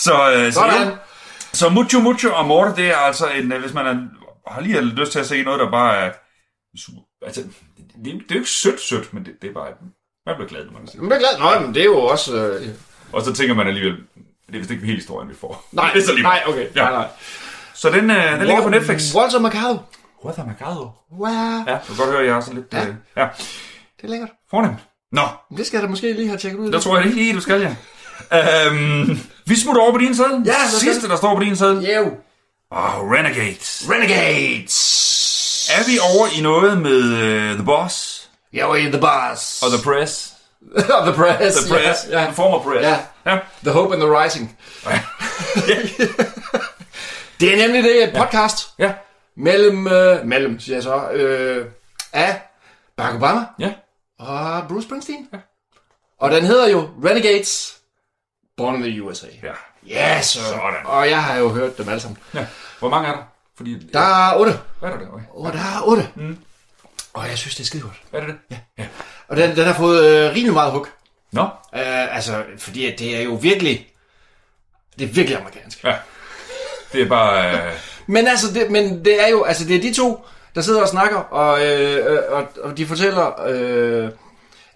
Speaker 5: Så, øh, så,
Speaker 4: Sådan.
Speaker 5: ja. så mucho mucho amor, det er altså en, øh, hvis man er, har lige lyst til at se noget, der bare er super. Altså, det, det, det er jo ikke sødt sødt, men det, det er bare, man bliver glad, når man ser.
Speaker 4: Men det er glad. Nej, men det er jo også... Øh...
Speaker 5: Og så tænker man alligevel, det er vist ikke hele historien, vi får.
Speaker 4: Nej,
Speaker 5: det er så lige.
Speaker 4: nej, okay.
Speaker 5: Ja.
Speaker 4: Nej, nej.
Speaker 5: Så den, øh, den ligger på Netflix.
Speaker 4: Walter Mercado.
Speaker 5: What am I gado?
Speaker 4: Wow.
Speaker 5: Ja, du kan godt høre, jeg er så lidt, ja. Øh, ja,
Speaker 4: Det er lækkert.
Speaker 5: fornemt. Nå,
Speaker 4: Det skal jeg da måske lige have tjekket ud.
Speaker 5: der tror jeg det ikke lige, du skal, ja. Øhm, vi smutter over på din sæde.
Speaker 4: lad os gøre
Speaker 5: Sidste,
Speaker 4: det.
Speaker 5: der står på din sæde.
Speaker 4: Jo.
Speaker 5: Åh, oh, Renegades.
Speaker 4: Renegades.
Speaker 5: Er vi over i noget med uh, The Boss
Speaker 4: Jo, i The Boss.
Speaker 5: og The Press?
Speaker 4: Og the Press.
Speaker 5: The Press,
Speaker 4: Ja, ja.
Speaker 5: den former Press.
Speaker 4: Ja.
Speaker 5: ja.
Speaker 4: The Hope and the Rising. det er nemlig det, et podcast
Speaker 5: Ja,
Speaker 4: mellem, øh, mellem siger jeg så, øh, af Barack Obama
Speaker 5: ja.
Speaker 4: og Bruce Springsteen. Ja. Og den hedder jo Renegades Born in the USA.
Speaker 5: ja.
Speaker 4: Ja, yes, sir.
Speaker 5: Sådan.
Speaker 4: Og jeg har jo hørt dem alle sammen.
Speaker 5: ja. Hvor mange er der? Fordi,
Speaker 4: Der er otte.
Speaker 5: Hvad er der derovre?
Speaker 4: Åh, oh, der er otte. Mm. Og jeg synes, det er skide godt.
Speaker 5: Er det det? Ja. ja.
Speaker 4: Og den, den har fået øh, rimelig meget hug.
Speaker 5: Nå?
Speaker 4: Øh, altså, fordi at det er jo virkelig... Det er virkelig amerikansk.
Speaker 5: Ja. Det er bare... Øh,
Speaker 4: Men altså, det, men det er jo, altså det er de to, der sidder og snakker, og, øh, øh, og, og de fortæller, øh,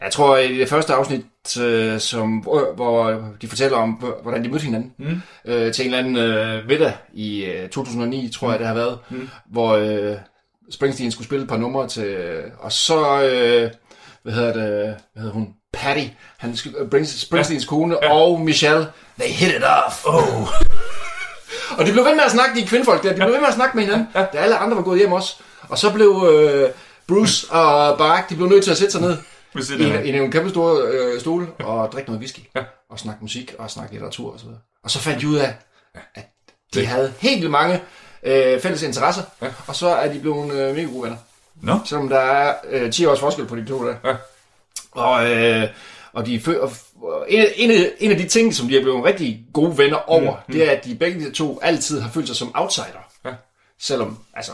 Speaker 4: jeg tror i det første afsnit, øh, som, hvor, hvor de fortæller om, hvor- hvordan de mødte hinanden, mm. øh, til en eller anden øh, middag i øh, 2009, tror jeg det har været, mm. hvor øh, Springsteen skulle spille et par numre til, og så, øh, hvad hedder det, hvad hedder hun, Patty, han, sk- øh, Brings- Springsteens kone, ja. og Michelle, they hit it off.
Speaker 5: oh.
Speaker 4: Og de blev ved med at snakke, de kvindefolk der, de blev ved med at snakke med hinanden, da alle andre var gået hjem også. Og så blev øh, Bruce og Barack, de blev nødt til at sætte sig ned
Speaker 5: Hvis det
Speaker 4: i,
Speaker 5: er
Speaker 4: en- i nogle kæmpe store øh, stole og drikke noget whisky. Og snakke musik og snakke litteratur osv. Og så fandt de ud af, at de havde helt vildt mange øh, fælles interesser. Og så er de blevet øh, mega gode venner.
Speaker 5: Nå?
Speaker 4: Selvom der er øh, 10 års forskel på de to der.
Speaker 5: Ja.
Speaker 4: Og, øh, og, de, fø- og, og en, af- en, af- en af de ting, som de er blevet rigtig gode venner over, mm, det er, at de begge de to altid har følt sig som outsider.
Speaker 5: Ja.
Speaker 4: Selvom, altså,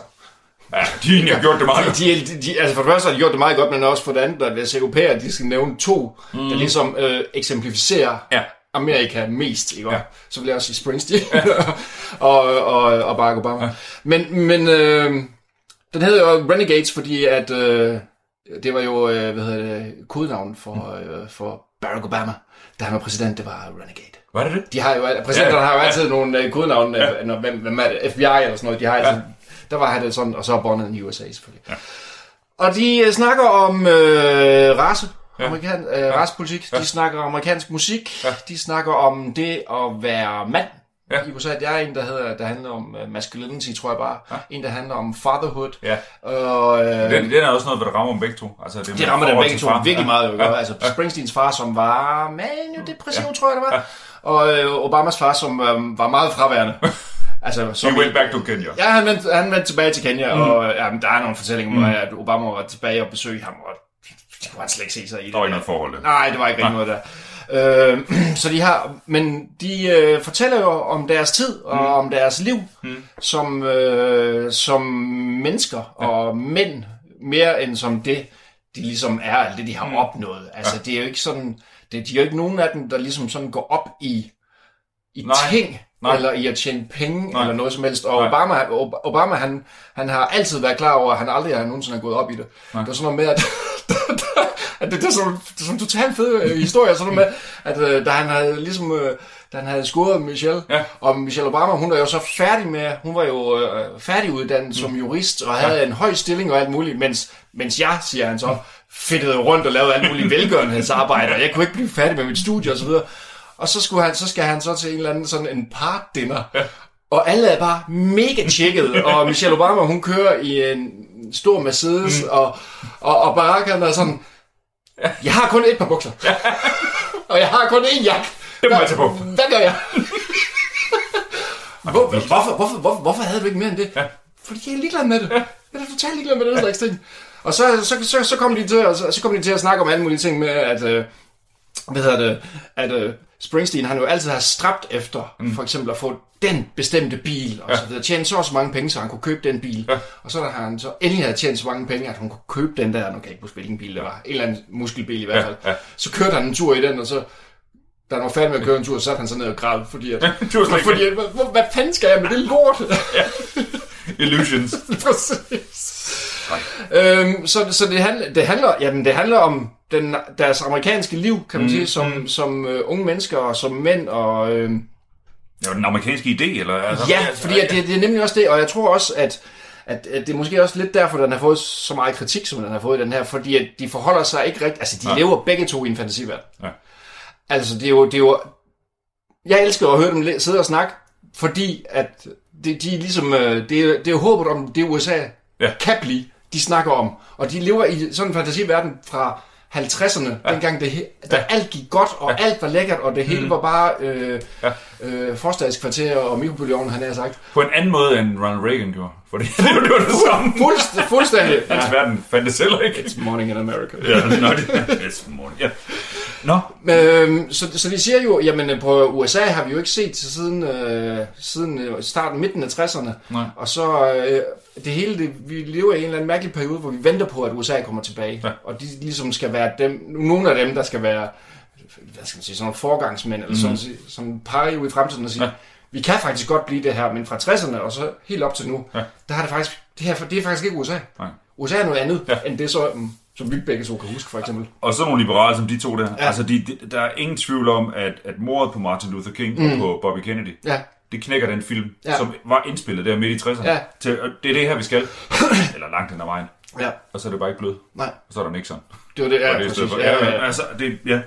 Speaker 5: Ja, de egentlig har gjort det meget.
Speaker 4: de, de, de, altså for det første har de gjort det meget godt, men også for det andet, at hvis europæer, de skal nævne to, mm. der ligesom øh, eksemplificerer
Speaker 5: Ja.
Speaker 4: Amerika mest, ikke? Ja.
Speaker 5: Ja.
Speaker 4: Så vil jeg også sige Springsteen og, og, og Barack Obama. Ja. Men, men øh, den hedder jo Renegades, fordi at øh, det var jo, øh, hvad hedder det, kodenavn for, øh, for Barack Obama, da han var præsident, det var Renegade.
Speaker 5: Var det det?
Speaker 4: De har jo, al- præsidenterne
Speaker 5: Ja,
Speaker 4: har jo altid nogle øh, kodenavne, ja. når, hvem, hvem er det, FBI eller sådan noget, de har altid, ja. der var han det sådan, og så Bond i USA selvfølgelig. Ja. Og de øh, snakker om øh, race,
Speaker 5: Ja.
Speaker 4: ja. Amerikan, øh, ja. racepolitik, de
Speaker 5: Ja.
Speaker 4: snakker om amerikansk musik,
Speaker 5: Ja.
Speaker 4: ja. de snakker om det at være mand.
Speaker 5: Ja.
Speaker 4: Ja. I USA, der er en, der, hedder, der handler om øh, masculinity, tror jeg bare.
Speaker 5: Ja.
Speaker 4: Ja. En, der handler om fatherhood.
Speaker 5: Ja.
Speaker 4: Og, øh,
Speaker 5: Den, den er også noget, hvor det rammer dem begge to. Altså, det,
Speaker 4: det rammer dem
Speaker 5: forhold
Speaker 4: begge
Speaker 5: til
Speaker 4: to
Speaker 5: far.
Speaker 4: virkelig
Speaker 5: Ja.
Speaker 4: meget. Jo. Ja. Altså Springsteens far, som var maniodepressiv, ja. tror jeg det var. Og øh, Obamas far, som øh, var meget fraværende. altså,
Speaker 5: He
Speaker 4: som
Speaker 5: went back to Kenya.
Speaker 4: Ja, han vendte, han vendte tilbage til Kenya, mm. og ja, men der er nogle fortællinger om, at Obama var tilbage og besøgte ham, og det kunne han slet ikke se sig i.
Speaker 5: Der var ikke noget forhold. der.
Speaker 4: Nej, det var ikke rigtig noget der. Øh, så de har, men de øh, fortæller jo om deres tid og mm. om deres liv
Speaker 5: Mm.
Speaker 4: mm. som, øh, som mennesker og mænd, mere end som det, de ligesom er, alt det de har
Speaker 5: Mm.
Speaker 4: opnået. Altså, det er jo ikke sådan, det, de er jo ikke nogen af dem, der ligesom sådan går op i, i
Speaker 5: Nej.
Speaker 4: ting,
Speaker 5: Nej.
Speaker 4: Nej. eller i at tjene penge,
Speaker 5: Nej.
Speaker 4: Nej. eller noget som helst. Og
Speaker 5: Nej.
Speaker 4: Obama, Ob- Obama han, han har altid været klar over, at han aldrig har nogensinde er gået op i det.
Speaker 5: Nej.
Speaker 4: Det er sådan noget med, at, at det, det, er sådan, det er sådan en totalt fed øh, historie, sådan noget med, at øh, da han havde ligesom... Øh, da han havde skudt Michelle,
Speaker 5: Ja.
Speaker 4: og Michelle Obama, hun er jo så færdig med, hun var jo øh, færdiguddannet mm. som jurist, og havde en høj stilling og alt muligt, mens, mens jeg, siger han så, fedtede rundt og lavede alt muligt velgørenhedsarbejde, og jeg kunne ikke blive færdig med mit studie osv. Og så, skulle han, så skal han så til en eller anden sådan en part dinner, og alle er bare mega tjekket, og Michelle Obama, hun kører i en stor Mercedes, mm. og, og, og Barack, han er sådan, jeg har kun et par bukser, og jeg har kun én jakke.
Speaker 5: Det må jeg tage på.
Speaker 4: Hvad gør jeg? Hvor, hvorfor, hvorfor, hvorfor, hvorfor havde du ikke mere end det?
Speaker 5: Ja.
Speaker 4: Fordi jeg er ligeglad med det. Jeg er totalt ligeglad med det slags ting. Og så, så, så, så, kom de til, at- så, så kom de til at snakke om alle mulige ting med, at, øh, hvad hedder det, at øh, Springsteen han jo altid har strabt efter, mm. for eksempel at få den bestemte bil, og så videre. Tjene så og så mange penge, så han kunne købe den bil. Ja. Og så da han så endelig havde tjent så mange penge, at hun kunne købe den der, nu kan jeg ikke huske, hvilken bil det var, en eller anden muskelbil i hvert fald.
Speaker 5: ja.
Speaker 4: Så kørte han en tur i den, og så da han var færdig med at køre en tur, så satte han sig ned og græd, fordi at,
Speaker 5: Det var slet ikke
Speaker 4: fordi, at, hvad, hvad fanden skal jeg med det lort?
Speaker 5: Illusions.
Speaker 4: Præcis. Øhm, så så det, handler, det, handler, jamen, det handler om den, deres amerikanske liv, kan man mm, sige, som, mm. som øh, unge mennesker og som mænd. Og, øh,
Speaker 5: Det var den amerikanske idé, eller? Altså,
Speaker 4: ja, fordi at det, det er nemlig også det, og jeg tror også, at, at, at det er måske også lidt derfor, den har fået så meget kritik, som den har fået i den her, fordi at de forholder sig ikke rigtigt, altså de
Speaker 5: Ja.
Speaker 4: ja. lever begge to i en fantasiverden.
Speaker 5: Ja.
Speaker 4: Altså det er, jo, det er jo, jeg elsker at høre dem læ- sidde og snakke, fordi at det, de er ligesom, øh, det, er- det er håbet om det USA
Speaker 5: Ja.
Speaker 4: ja. kan blive, de snakker om, og de lever i sådan en fantasiverden fra 50'erne, ja. dengang det, he- da ja. alt gik godt, og ja. alt var lækkert, og det hele mm. var bare øh,
Speaker 5: Ja.
Speaker 4: ja. øh, forstadskvarter og mikrobølgeovn, han har sagt.
Speaker 5: På en anden måde, end Ronald Reagan gjorde. Fordi det var det samme.
Speaker 4: Fuldst, fuldstændig.
Speaker 5: Hans verden fandtes heller ikke.
Speaker 4: It's morning in America.
Speaker 5: Ja, nå, det er morgen. Ja. Nå,
Speaker 4: Øhm, så, så de siger jo, jamen øh, på USA har vi jo ikke set til siden, øh, siden øh, starten, midten af 60'erne.
Speaker 5: Nej.
Speaker 4: Og så øh, det hele, det, vi lever i en eller anden mærkelig periode, hvor vi venter på, at USA kommer tilbage.
Speaker 5: Ja.
Speaker 4: Og de ligesom skal være dem, nogle af dem, der skal være, hvad skal man sige, sådan nogle forgangsmænd, eller sådan, som peger ud i fremtiden og siger,
Speaker 5: Mhm. Ja.
Speaker 4: ja. vi kan faktisk godt blive det her, men fra 60'erne og så helt op til nu,
Speaker 5: Ja.
Speaker 4: ja. der har det faktisk, det her, det er faktisk ikke USA.
Speaker 5: Nej.
Speaker 4: USA er noget andet,
Speaker 5: Ja.
Speaker 4: ja. end det så, mm, som vi begge to kan huske, for eksempel.
Speaker 5: Og sådan nogle liberale som de to der. Ja.
Speaker 4: Ja.
Speaker 5: Altså, de, de, der er ingen tvivl om, at, at mordet på Martin Luther King mm. og på Bobby Kennedy,
Speaker 4: Ja.
Speaker 5: det knækker den film, ja.
Speaker 4: Ja.
Speaker 5: som var indspillet der midt i 60'erne.
Speaker 4: Ja.
Speaker 5: Til, og det er det her, vi skal. Eller langt hen ad vejen.
Speaker 4: Ja,
Speaker 5: Og så er det bare ikke blød.
Speaker 4: nej.
Speaker 5: Og så er der Nixon.
Speaker 4: Det var det,
Speaker 5: Og
Speaker 4: ja,
Speaker 5: det er i stedet
Speaker 4: præcis.
Speaker 5: for-
Speaker 4: Ja, ja, ja.
Speaker 5: Altså, det, ja.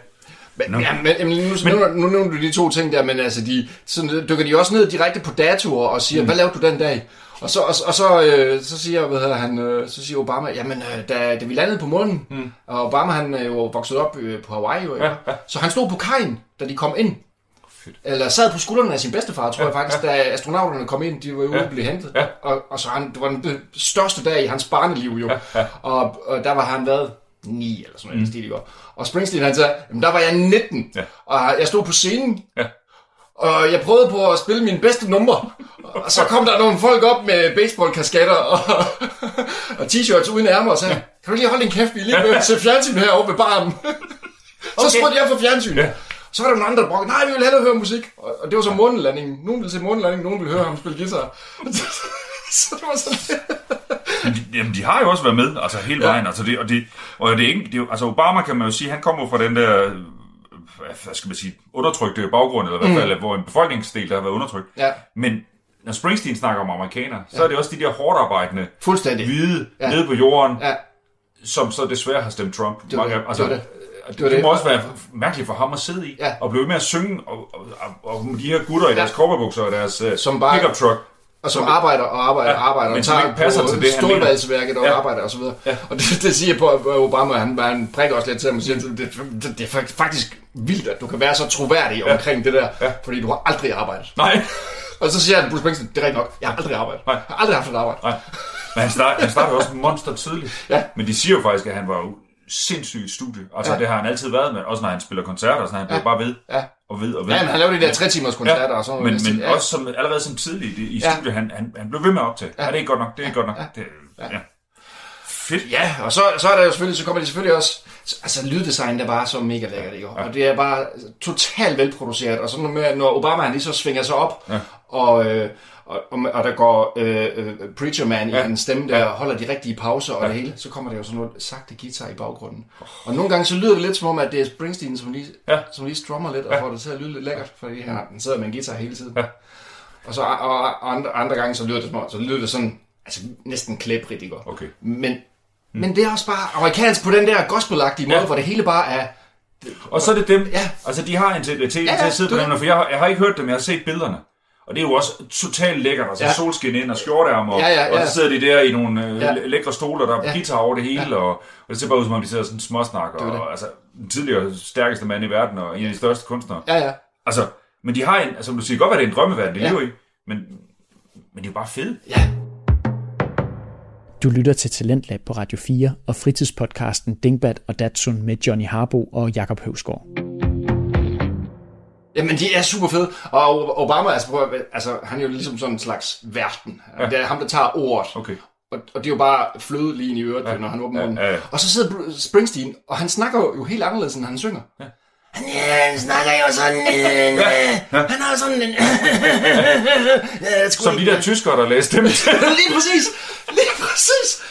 Speaker 4: Men,
Speaker 5: Nå.
Speaker 4: ja, men, jamen, nu, men, nu, nu nævnte du de to ting der, men altså, de, sådan, dykker de også ned direkte på datoer og siger, mm. hvad lavede du den dag? Og så, og, og så, øh, så, siger, hvad hedder han, øh, så siger Obama, jamen, øh, da, da vi landede på månen, mm. og Obama han er jo vokset op øh, på Hawaii, jo, ja, ja. så han stod på kajen, da de kom ind.
Speaker 5: Fedt.
Speaker 4: Eller sad på skuldrene af sin bedstefar, tror jeg faktisk, da astronauterne kom ind, de var ude
Speaker 5: Ja.
Speaker 4: og blev hentet.
Speaker 5: Ja.
Speaker 4: Og, og så han, det var den øh, største dag i hans barneliv jo. Og, og der var han været 9 eller sådan noget, mm. det Og Springsteen han sagde, jamen der var jeg 19,
Speaker 5: Ja.
Speaker 4: og jeg stod på scenen,
Speaker 5: Ja.
Speaker 4: og jeg prøvede på at spille mine bedste numre. Og så kom der nogle folk op med baseballkasketter og, og t-shirts uden ærmer og sagde, kan du ikke lige holde din kæft, vi er lige ved at se fjernsyn herovre ved baren. Så okay. spurgte jeg for fjernsyn.
Speaker 5: Ja.
Speaker 4: Ja. Så var der nogle andre, der brugte, nej, vi vil hellere høre musik. Og og det var så månelandingen. Nogen ville se månelandingen, nogen ville høre ham spille guitar. så det var sådan
Speaker 5: Men de, jamen, de har jo også været med, altså hele vejen. Altså, det, og, det, og det er ikke, det, er jo- altså Obama kan man jo sige, han kommer jo fra den der, øh, hvad- hvad skal man sige, undertrykte baggrund, eller i hvert fald, mm. hvor en befolkningsdel, der har været undertrykt.
Speaker 4: Ja.
Speaker 5: Men når Springsteen snakker om amerikanere, så er det også de der hårdt arbejdende,
Speaker 4: Fuldstændig.
Speaker 5: hvide, ja.
Speaker 4: Ja.
Speaker 5: nede på jorden,
Speaker 4: Ja.
Speaker 5: som så desværre har stemt Trump.
Speaker 4: Det var det.
Speaker 5: altså,
Speaker 4: Det var det.
Speaker 5: det,
Speaker 4: var
Speaker 5: det,
Speaker 4: det.
Speaker 5: må også være mærkeligt for ham at sidde i,
Speaker 4: Ja.
Speaker 5: og blive ved med at synge, og, og, og, og de her gutter i deres
Speaker 4: Ja.
Speaker 5: korperbukser og deres øh,
Speaker 4: Som bare-
Speaker 5: pickup truck.
Speaker 4: Og som arbejder og arbejder og
Speaker 5: Ja,
Speaker 4: arbejder,
Speaker 5: men
Speaker 4: og
Speaker 5: som
Speaker 4: tager
Speaker 5: ikke passer
Speaker 4: på
Speaker 5: til det, han mener.
Speaker 4: stålvalsværket og
Speaker 5: Ja.
Speaker 4: arbejder osv. Og,
Speaker 5: Ja.
Speaker 4: ja. og det, det siger på, at Obama, han, var- han prikker også lidt til ham og siger, det, det, det er fak- faktisk vildt, at du kan være så troværdig ja. omkring det der,
Speaker 5: Ja.
Speaker 4: ja. fordi du har aldrig arbejdet.
Speaker 5: Nej,
Speaker 4: Og så siger han, Bruce Springsteen, det er rigtigt nok, jeg har aldrig arbejdet.
Speaker 5: Nej.
Speaker 4: Jeg har aldrig haft et arbejde.
Speaker 5: nej. Men han, start, han starter jo også monster tidligt.
Speaker 4: Ja.
Speaker 5: Men de siger jo faktisk, at han var jo sindssygt i studie. Altså, ja.
Speaker 4: Ja.
Speaker 5: det har han altid været med, også når han spiller koncerter, og sådan, han bliver bare ved
Speaker 4: Ja.
Speaker 5: og ved og ved.
Speaker 4: Ja, men han laver de der tre timers koncerter og sådan
Speaker 5: men,
Speaker 4: noget.
Speaker 5: men
Speaker 4: ja.
Speaker 5: også som, allerede som tidligt i, i
Speaker 4: Ja.
Speaker 5: studiet, han, han, han blev ved med at optage. Ja. ja, det er godt nok, det er godt nok. Det, ja. Ja. Fedt.
Speaker 4: Ja, og så, så er der jo selvfølgelig, så kommer de selvfølgelig også, altså lyddesign er bare så mega lækkert, ikke? Og det er bare totalt velproduceret, og sådan noget med, at når Obama han lige så svinger sig op, ja. og, øh, og, og, og der går øh, øh, Preacher Man ja. i hans stemme, der ja. holder de rigtige pauser og ja. det hele, så kommer der jo sådan noget sagte guitar i baggrunden. Og nogle gange så lyder det lidt som om, at det er Springsteen, som lige,
Speaker 5: Ja.
Speaker 4: ja. som lige strummer lidt, og får det til at lyde lidt lækkert, fordi han, han sidder med en guitar hele tiden.
Speaker 5: Ja.
Speaker 4: Og så og, og andre, andre gange, så lyder det som om, så lyder det sådan, altså næsten klæbrigt, ikke?
Speaker 5: Okay.
Speaker 4: Men, mm. men det er også bare amerikansk på den der gospelagtige måde,
Speaker 5: Ja.
Speaker 4: ja. hvor det hele bare er...
Speaker 5: Og så er det dem, ja.
Speaker 4: Ja.
Speaker 5: altså de har integritet
Speaker 4: Ja,
Speaker 5: ja, ja, til
Speaker 4: ja,
Speaker 5: at sidde på
Speaker 4: det-
Speaker 5: dem, for jeg, har- jeg har ikke hørt dem, jeg har set billederne. Og det er jo også totalt lækkert, altså ja.
Speaker 4: Ja.
Speaker 5: solskin ind og skjortearm, og,
Speaker 4: Ja, ja,
Speaker 5: og
Speaker 4: ja.
Speaker 5: så sidder de der i nogle øh,
Speaker 4: Ja.
Speaker 5: læ- lækre stoler, der er ja.
Speaker 4: Ja.
Speaker 5: guitar over det hele, ja. og, og det ser bare ud som om, de sidder sådan småsnakker,
Speaker 4: Det er det.
Speaker 5: og altså den tidligere stærkeste mand i verden, og en af de største kunstnere.
Speaker 4: Ja, ja.
Speaker 5: Altså, men de har en, altså som du siger, godt være det er en drømmeverden, de ja.
Speaker 4: Ja.
Speaker 5: lever i, men, men de er jo bare fede.
Speaker 4: ja.
Speaker 1: Du lytter til Talentlab på Radio 4 og fritidspodcasten Dingbat og Datsun med Johnny Harbo og Jakob Høvsgaard.
Speaker 4: Jamen, de er super fede. Og Obama, altså, prøv, at være- altså han er jo ligesom sådan en slags verden. Ja. Det er ham, der tager ordet.
Speaker 5: Okay.
Speaker 4: Og, og det er jo bare fløde lige ind i øret, ja. når han åbner
Speaker 5: Ja,
Speaker 4: munden.
Speaker 5: ja, ja.
Speaker 4: Og så sidder Bru- Springsteen, og han snakker jo helt anderledes, end han synger. Ja. Han øh, snakker jo sådan en... Øh, ja. Han har jo sådan en... ja, det skulle
Speaker 5: Som de der tyskere, der læste dem.
Speaker 4: lige præcis! Lige præcis!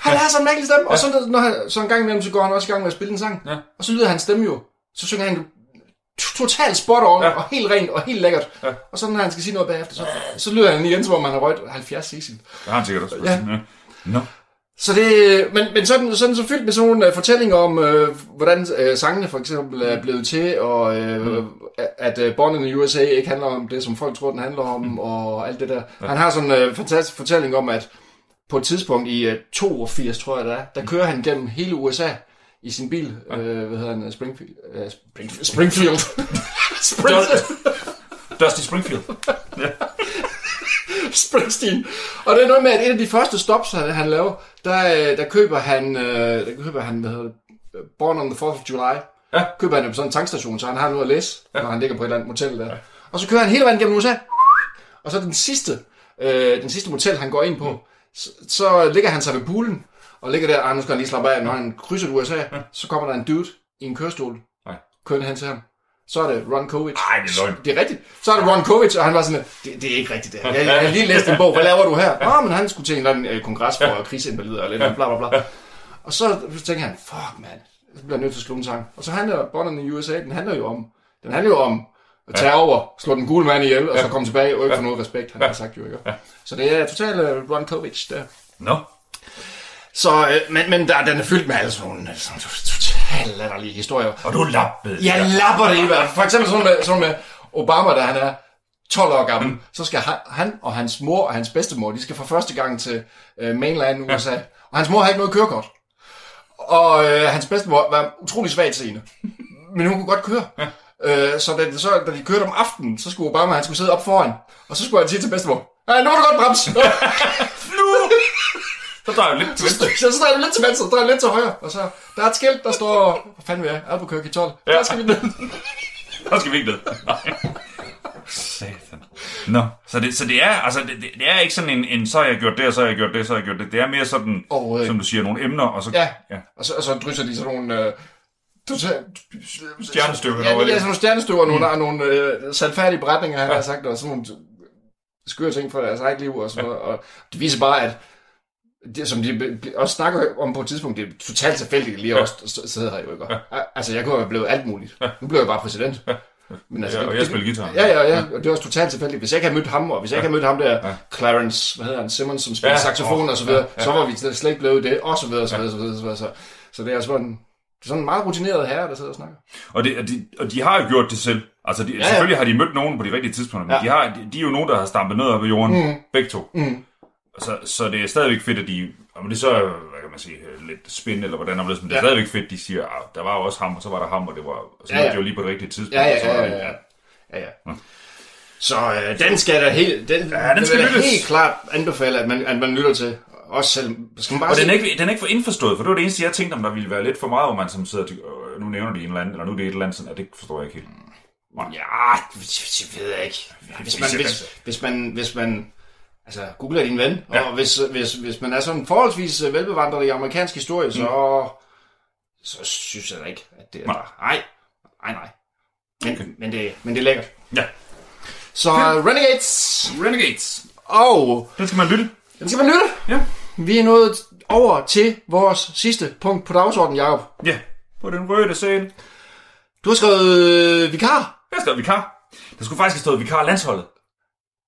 Speaker 4: Han har sådan en mærkelig stemme, ja. og så, når han, så en gang imellem, så går han også i gang med at spille en sang.
Speaker 5: Ja.
Speaker 4: Og så lyder hans stemme jo. Så synger han jo t- totalt spot on,
Speaker 5: Ja.
Speaker 4: ja. og helt rent, og helt lækkert.
Speaker 5: Ja.
Speaker 4: Ja. Og så når han skal sige noget bagefter, så, så lyder han igen, som om han har røgt 70 cc.
Speaker 5: Det har han sikkert også.
Speaker 4: Ja.
Speaker 5: Ja. Nå.
Speaker 4: Så det, men, men sådan, sådan så fyldt med sådan nogle øh, fortællinger om, øh, hvordan øh, sangene for eksempel er blevet til, og øh, mm. at øh, Born in the USA ikke handler om det, som folk tror, den handler om, mm. og alt det der. Han har sådan en øh, fantastisk fortælling om, at på et tidspunkt i øh, 82, tror jeg det er, der kører han gennem hele USA i sin bil, øh, hvad hedder han, øh, Springfield, øh, Springfield, Springfield, Springfield.
Speaker 5: Dusty Springfield.
Speaker 4: Springsteen. Og det er noget med, at et af de første stops, han, han laver, der, øh, der køber han, øh, der køber han, hvad hedder det, øh, Born on the 4th of July.
Speaker 5: Ja.
Speaker 4: Køber han jo på sådan en tankstation, så han har noget at læse, ja. når han ligger på et eller andet motel der. Ja. Og så kører han hele vejen gennem USA. Og så den sidste, øh, den sidste motel, han går ind på, så, så ligger han sig ved poolen, og ligger der, og nu skal han lige slappe af, når han krydser USA, så kommer der en dude i en kørestol,
Speaker 5: Nej.
Speaker 4: kører han til ham. Så er det Ron Kovic.
Speaker 5: Ej, det er løgn.
Speaker 4: Det er rigtigt. Så er det Ron Kovic, og han var sådan, det, det er ikke rigtigt det her. Jeg, jeg har lige læst en bog, hvad laver du her? Nå, men han skulle til en eller anden øh, kongres for krigsinvalider og lidt andet, bla bla bla. Og så tænker han, fuck mand, så bliver jeg nødt til at slå en sang. Og så handler Bonderne i USA, den handler jo om, den handler jo om at tage over, slå den gule mand ihjel, og så komme tilbage, og ikke få noget respekt, han har sagt jo ikke. Så det er totalt øh, Ron Kovic der.
Speaker 5: Nå.
Speaker 4: Så, øh, men, men der, den er fyldt med alle sådan nogle øh, sådan totalt latterlige historier.
Speaker 5: Og du lappede.
Speaker 4: Jeg lapper det i hvert fald. For eksempel sådan med, sådan med Obama, da han er 12 år gammel, mm. så skal han, han og hans mor og hans bedstemor, de skal for første gang til øh, mainland USA. Ja. Og hans mor har ikke noget kørekort. Og øh, hans bedstemor var utrolig svagt seende. Men hun kunne godt køre. Ja. Øh, så, da, så da de kørte om aftenen, så skulle Obama, han skulle sidde op foran. Og så skulle han sige til bedstemor, Nej, nu må du godt bremse.
Speaker 5: Nu! Så drejer jeg lidt til venstre.
Speaker 4: så så drejer du lidt til venstre, så drejer du lidt til højre. Og så, der er et skilt, der står, hvad fanden vil jeg, Albuquerque 12. Ja. Der skal vi ned.
Speaker 5: Der skal vi ikke ned. Nej. Satan. Nå. Så det, så det er, altså, det, det- det er ikke sådan en, en, så har jeg gjort det, og så har jeg gjort det, så har jeg gjort det. Det er mere sådan,
Speaker 4: Overhovedet
Speaker 5: som du siger, nogle emner, og så...
Speaker 4: Ja.
Speaker 5: ja.
Speaker 4: Og så, og så drysser de sådan nogle... Øh, totalt-
Speaker 5: Stjernestøvler
Speaker 4: Ja,
Speaker 5: over
Speaker 4: det
Speaker 5: det.
Speaker 4: er sådan nogle stjernestøver, mm. nogle, nogle øh, sandfærdige beretninger, han ja. har sagt, og sådan nogle skøre ting fra deres eget liv og sådan noget. Og det viser bare, at det, som de be- også snakker om på et tidspunkt, det er totalt tilfældigt lige ja. også sidder her jo ikke. Ja. Altså, jeg kunne have blevet alt muligt. Nu blev jeg bare præsident. Men
Speaker 5: Ja, og jeg spiller guitar.
Speaker 4: Ja, ja, ja. Og det er også totalt tilfældigt. Hvis jeg ikke havde mødt ham, og hvis jeg ikke havde mødt ham der,
Speaker 5: Ja.
Speaker 4: Clarence, hvad hedder han, Simmons, som spiller
Speaker 5: Ja,
Speaker 4: ja, saxofon
Speaker 5: åh,
Speaker 4: og så videre,
Speaker 5: ja, ja.
Speaker 4: så var vi slet slet ikke blevet det, og så videre, og så videre, og så videre, og så videre. Så, så det er altså en, det er sådan en meget rutineret herre, der sidder og snakker.
Speaker 5: Og, det, og, de, og de har jo gjort det selv. Altså, de, ja,
Speaker 4: ja.
Speaker 5: selvfølgelig har de mødt nogen på de rigtige tidspunkter, men ja.
Speaker 4: Ja.
Speaker 5: de, har, de, de er jo nogen, der har stampet ned op i jorden, mm. begge to.
Speaker 4: Mm.
Speaker 5: Så, så det er stadigvæk fedt, at de... Om det så er, hvad kan man sige, lidt spin, eller hvordan, om det, er, men det er
Speaker 4: Ja.
Speaker 5: stadigvæk fedt, de siger, at der var jo også ham, og så var der ham, og det var, og så
Speaker 4: Ja,
Speaker 5: ja,
Speaker 4: ja.
Speaker 5: ja. det jo lige på det rigtige tidspunkt.
Speaker 4: Ja,
Speaker 5: og så
Speaker 4: ja,
Speaker 5: var
Speaker 4: ja,
Speaker 5: det-
Speaker 4: ja, ja. ja, ja. Så øh, den skal da helt, den,
Speaker 5: Ja, den skal
Speaker 4: vil jeg
Speaker 5: lyttes.
Speaker 4: helt klart anbefale, at man, at man lytter til. Også selv, skal man bare
Speaker 5: Og den
Speaker 4: sige-
Speaker 5: er, ikke, den er ikke for indforstået, for det var det eneste, jeg tænkte om, der ville være lidt for meget, hvor man som sidder og tænker, "Øh, nu nævner de en eller anden, eller nu er det et eller andet, sådan, at det forstår jeg ikke helt.
Speaker 4: Ja, det det ved jeg ikke. Hvis man, hvis, hvis man, hvis man altså, googler din ven, ja. og hvis, hvis, hvis man er sådan forholdsvis øh, velbevandret i amerikansk historie, så, så synes jeg da ikke, at det er
Speaker 5: Nej.
Speaker 4: nej. Nej, nej, nej. Men, okay. men, det, men det er lækkert.
Speaker 5: Ja.
Speaker 4: Så øh, Renegades,
Speaker 5: Renegades.
Speaker 4: og
Speaker 5: Den skal man lytte.
Speaker 4: den skal man lytte.
Speaker 5: Ja.
Speaker 4: Vi er nået over til vores sidste punkt på dagsordenen, Jacob.
Speaker 5: Ja. På den røde scene.
Speaker 4: Du har skrevet øh, vikar.
Speaker 5: Jeg skrev vikar. Der skulle faktisk have stået vikar landsholdet.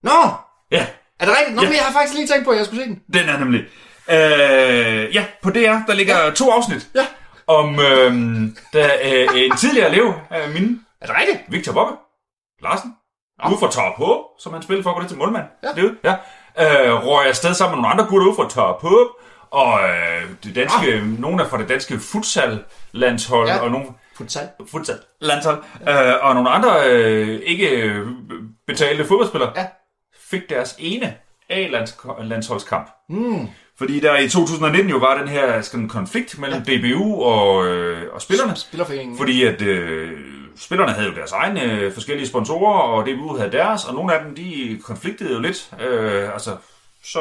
Speaker 4: Nå,
Speaker 5: Ja,
Speaker 4: er det rigtigt? Nå,
Speaker 5: Ja.
Speaker 4: ja. men jeg har faktisk lige tænkt på, at jeg skulle se den.
Speaker 5: den er nemlig. Øh, ja, på DR, der ligger ja. to afsnit.
Speaker 4: Ja.
Speaker 5: Om øh, der, øh, en tidligere elev af min,
Speaker 4: Er det rigtigt?
Speaker 5: Victor Bokke Larsen, ude fra Torp H, som han spillede for at gå lidt til målmand.
Speaker 4: Ja.
Speaker 5: Det, ja. Øh, røg afsted sammen med nogle andre gutter ude fra Torp H, og øh, det danske, ah. nogle er fra det danske futsal-landshold, ja.
Speaker 4: Ja.
Speaker 5: og nogle
Speaker 4: Futsal.
Speaker 5: futsal landshold, ja. øh, og nogle andre øh, ikke øh, betalte fodboldspillere,
Speaker 4: Ja.
Speaker 5: fik deres ene A-landsholdskamp.
Speaker 4: Mm.
Speaker 5: Fordi der i 2019 jo var den her sådan, konflikt mellem ja. DBU og, øh, og spillerne.
Speaker 4: Spillerforeningen.
Speaker 5: Fordi at øh, spillerne havde jo deres egne øh, forskellige sponsorer, og DBU havde deres, og nogle af dem, de konfliktede jo lidt. Øh, altså, så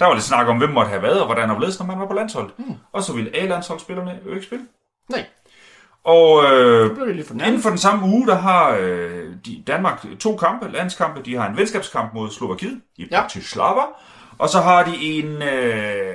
Speaker 5: der var lidt snak om, hvem måtte have været, og hvordan og hvorledes, når man var på landshold. Mm. Og så ville A-landsholdsspillerne jo ikke spille.
Speaker 4: Nej,
Speaker 5: Og øh,
Speaker 4: nu blev det lidt for
Speaker 5: Ja. Inden
Speaker 4: nærmest.
Speaker 5: for den samme uge, der har øh, de, Danmark to kampe, landskampe. De har en venskabskamp mod Slovakiet i
Speaker 4: Ja.
Speaker 5: Bratislava. Og så har de en, øh,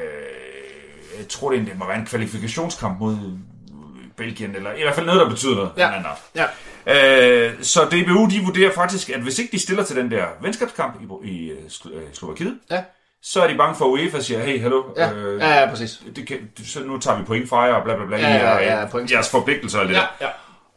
Speaker 5: jeg tror det, er en- det må være en kvalifikationskamp mod øh, Belgien, eller i hvert fald noget, der betyder noget.
Speaker 4: Ja.
Speaker 5: den anden aften.
Speaker 4: Ja.
Speaker 5: Øh, så DBU, de vurderer faktisk, at hvis ikke de stiller til den der venskabskamp i, i øh, Slo- øh, Slovakiet,
Speaker 4: Ja.
Speaker 5: så er de bange for, at UEFA siger, hey, hallo,
Speaker 4: Ja.
Speaker 5: øh,
Speaker 4: ja, ja, præcis.
Speaker 5: det kan, så nu tager vi point fra jer, og bla bla bla,
Speaker 4: Ja, ja,
Speaker 5: og,
Speaker 4: ja,
Speaker 5: øh,
Speaker 4: point.
Speaker 5: jeres forpligtelser og det
Speaker 4: Ja,
Speaker 5: der.
Speaker 4: ja.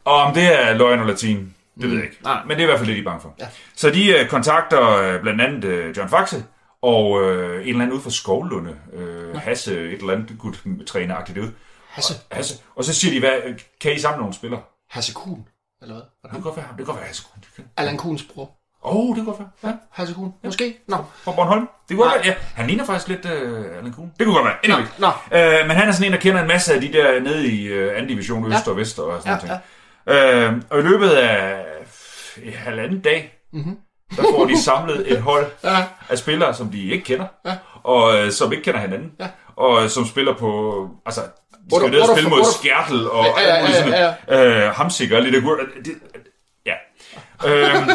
Speaker 5: Og om det er løgn og latin, det ved jeg ikke.
Speaker 4: nej.
Speaker 5: Men det er i hvert fald det, de er bange for.
Speaker 4: Ja.
Speaker 5: Så de øh, kontakter øh, blandt andet øh, John Faxe og øh, en eller anden ude fra Skovlunde, øh, Hasse, et eller andet gut træneragtigt ud.
Speaker 4: Hasse.
Speaker 5: Hasse. Og så siger de, hvad, øh, kan I samle nogle spillere?
Speaker 4: Hasse Kuhn, eller hvad? Var
Speaker 5: Det kan
Speaker 4: det
Speaker 5: godt være ham, det kan godt være Hasse. Kuhn. Det kan-
Speaker 4: Allan Kuhns bror.
Speaker 5: Åh, oh, det kan godt være. Ja.
Speaker 4: Hasse Kuhn, måske? Nå.
Speaker 5: Fra Bornholm. Det kunne godt
Speaker 4: Nej.
Speaker 5: være, ja. Han ligner faktisk lidt øh, Allan Kuhn. Det kunne godt være.
Speaker 4: Nå,
Speaker 5: Anyway.
Speaker 4: nå.
Speaker 5: Øh, men han er sådan en, der kender en masse af de der nede i øh, anden division, øst ja. og vest og sådan
Speaker 4: Ja,
Speaker 5: noget. Ja. Øh, og i løbet af øh, halvanden dag,
Speaker 4: Mhm.
Speaker 5: mm-hmm. der får de samlet et hold
Speaker 4: Ja,
Speaker 5: af spillere, som de ikke kender, ja. og øh, som ikke kender hinanden, ja. og øh, som spiller på... Altså, de
Speaker 4: Otter-
Speaker 5: skal jo ned og
Speaker 4: otter-
Speaker 5: spille mod
Speaker 4: otter-
Speaker 5: Skærtel og
Speaker 4: Ja, ja, ja,
Speaker 5: alt muligt
Speaker 4: ja,
Speaker 5: sådan øh, hamsikker og lidt af gurt. Det- Ja. Øhm,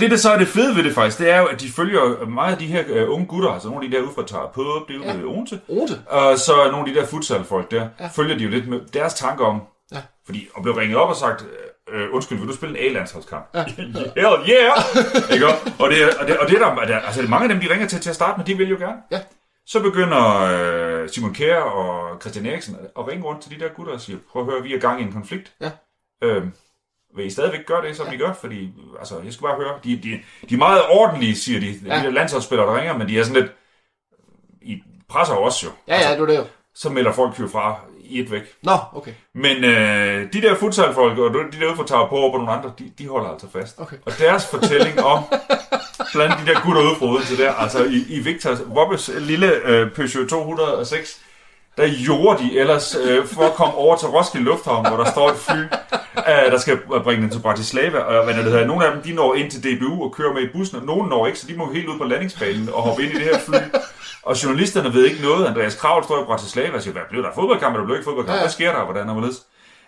Speaker 5: det, der så er det fede ved det faktisk, det er jo, at de følger meget af de her øh, unge gutter, altså nogle af de der ude fra Tarp, det er ude ved Odense,
Speaker 4: Rute.
Speaker 5: og så nogle af de der futsalfolk der, ja. følger de jo lidt med deres tanker om, ja. fordi og blev ringet op og sagt, øh, undskyld, vil du spille en A-landsholdskamp? Ja. Hell yeah! Ikke? også? Og, det, er- og, det, og det er der, og der, altså det er mange af dem, de ringer til til at starte med, de vil jo gerne.
Speaker 4: Ja.
Speaker 5: Så begynder øh, Simon Kjær og Christian Eriksen at ringe rundt til de der gutter og sige, prøv at høre, vi er gang i en konflikt.
Speaker 4: Ja.
Speaker 5: Øhm, vil I stadigvæk gøre det, som ja. I gør? Fordi, øh, altså, jeg skal bare høre, de, de, de er meget ordentlige, siger de, ja.
Speaker 4: Ja.
Speaker 5: de der landsholdsspillere, der ringer, men de er sådan lidt, I presser jo også jo.
Speaker 4: Ja, ja, du er det jo.
Speaker 5: Så melder folk jo fra i et væk.
Speaker 4: Nå, okay.
Speaker 5: Men øh, de der futsalfolk og de der ude fra Tower Power og nogle andre, de, de holder altså fast.
Speaker 4: Okay.
Speaker 5: Og deres fortælling om, blandt de der gutter ude fra Odense der, altså i, i Victor Wobbes lille øh, Peugeot 206, der gjorde de ellers øh, for at komme over til Roskilde Lufthavn, hvor der står et fly, øh, der skal bringe den til Bratislava. Og hvad er det hedder, nogle af dem de når ind til DBU og kører med i bussen, og nogle når ikke, så de må jo helt ud på landingsbanen og hoppe ind i det her fly. Og journalisterne ved ikke noget. Andreas Kravl står i Bratislava og siger, hvad blev der fodboldkamp, eller blev ikke fodboldkamp? Ja. Hvad sker der, hvordan og hvorledes?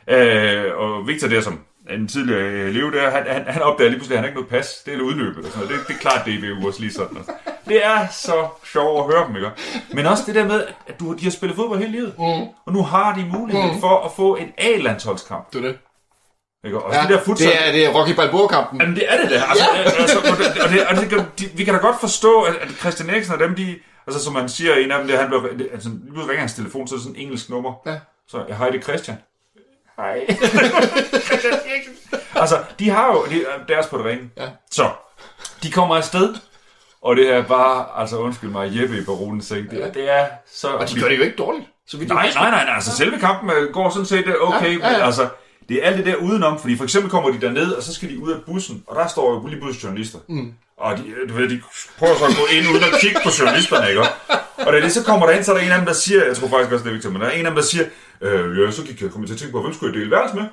Speaker 5: Øh, og Victor der, som er en tidligere øh, elev der, han, han, han opdager lige pludselig, at han har ikke noget pas. Det er udløbet og sådan noget. Det, det er klart, det er også lige sådan. Altså. Det er så sjovt at høre dem, ikke? Men også det der med, at du, de har spillet fodbold hele livet. Mm. Og nu har de muligheden mm. for at få en A-landsholdskamp.
Speaker 4: Du er det.
Speaker 5: Ikke? Og
Speaker 4: Ja,
Speaker 5: ja, det der futsal...
Speaker 4: det, er, det er Rocky Balboa-kampen.
Speaker 5: Jamen, det er det da. Altså, ja. altså, og det, og det, og det, kan- de, vi kan da godt forstå, at, at Christian Eriksen og dem, de... Altså, som han siger, en af dem, det er, han blev... det- Altså, nu ringer hans telefon, så er det sådan en engelsk nummer.
Speaker 4: Ja.
Speaker 5: Så, ja, hej, det er Christian. Hej. Christian Eriksen. altså, de har jo de, øh, deres på det rene.
Speaker 4: Ja.
Speaker 5: Så, de kommer afsted. Og det er bare, altså undskyld mig, Jeppe i baronens seng. Det, ja. det er så...
Speaker 4: Og de gør det jo ikke dårligt. Så vi
Speaker 5: Nej, nej, nej, nej. Altså, selve kampen øh, går sådan set øh, okay,
Speaker 4: Ja, ja,
Speaker 5: ja, ja,
Speaker 4: ja.
Speaker 5: ja. men altså, det er alt det der udenom, fordi for eksempel kommer de derned, og så skal de ud af bussen, og der står jo lige pludselig journalister. Mm. Og de, øh, du ved, de prøver så at gå ind uden at kigge på journalisterne, ikke? Og da det så kommer der ind, så er der en af dem, der siger, jeg tror faktisk også, det er vigtigt, men der er en af dem, der siger, øh, ja, så gik jeg kom jeg til at tænke på, hvem skulle jeg dele værelse med?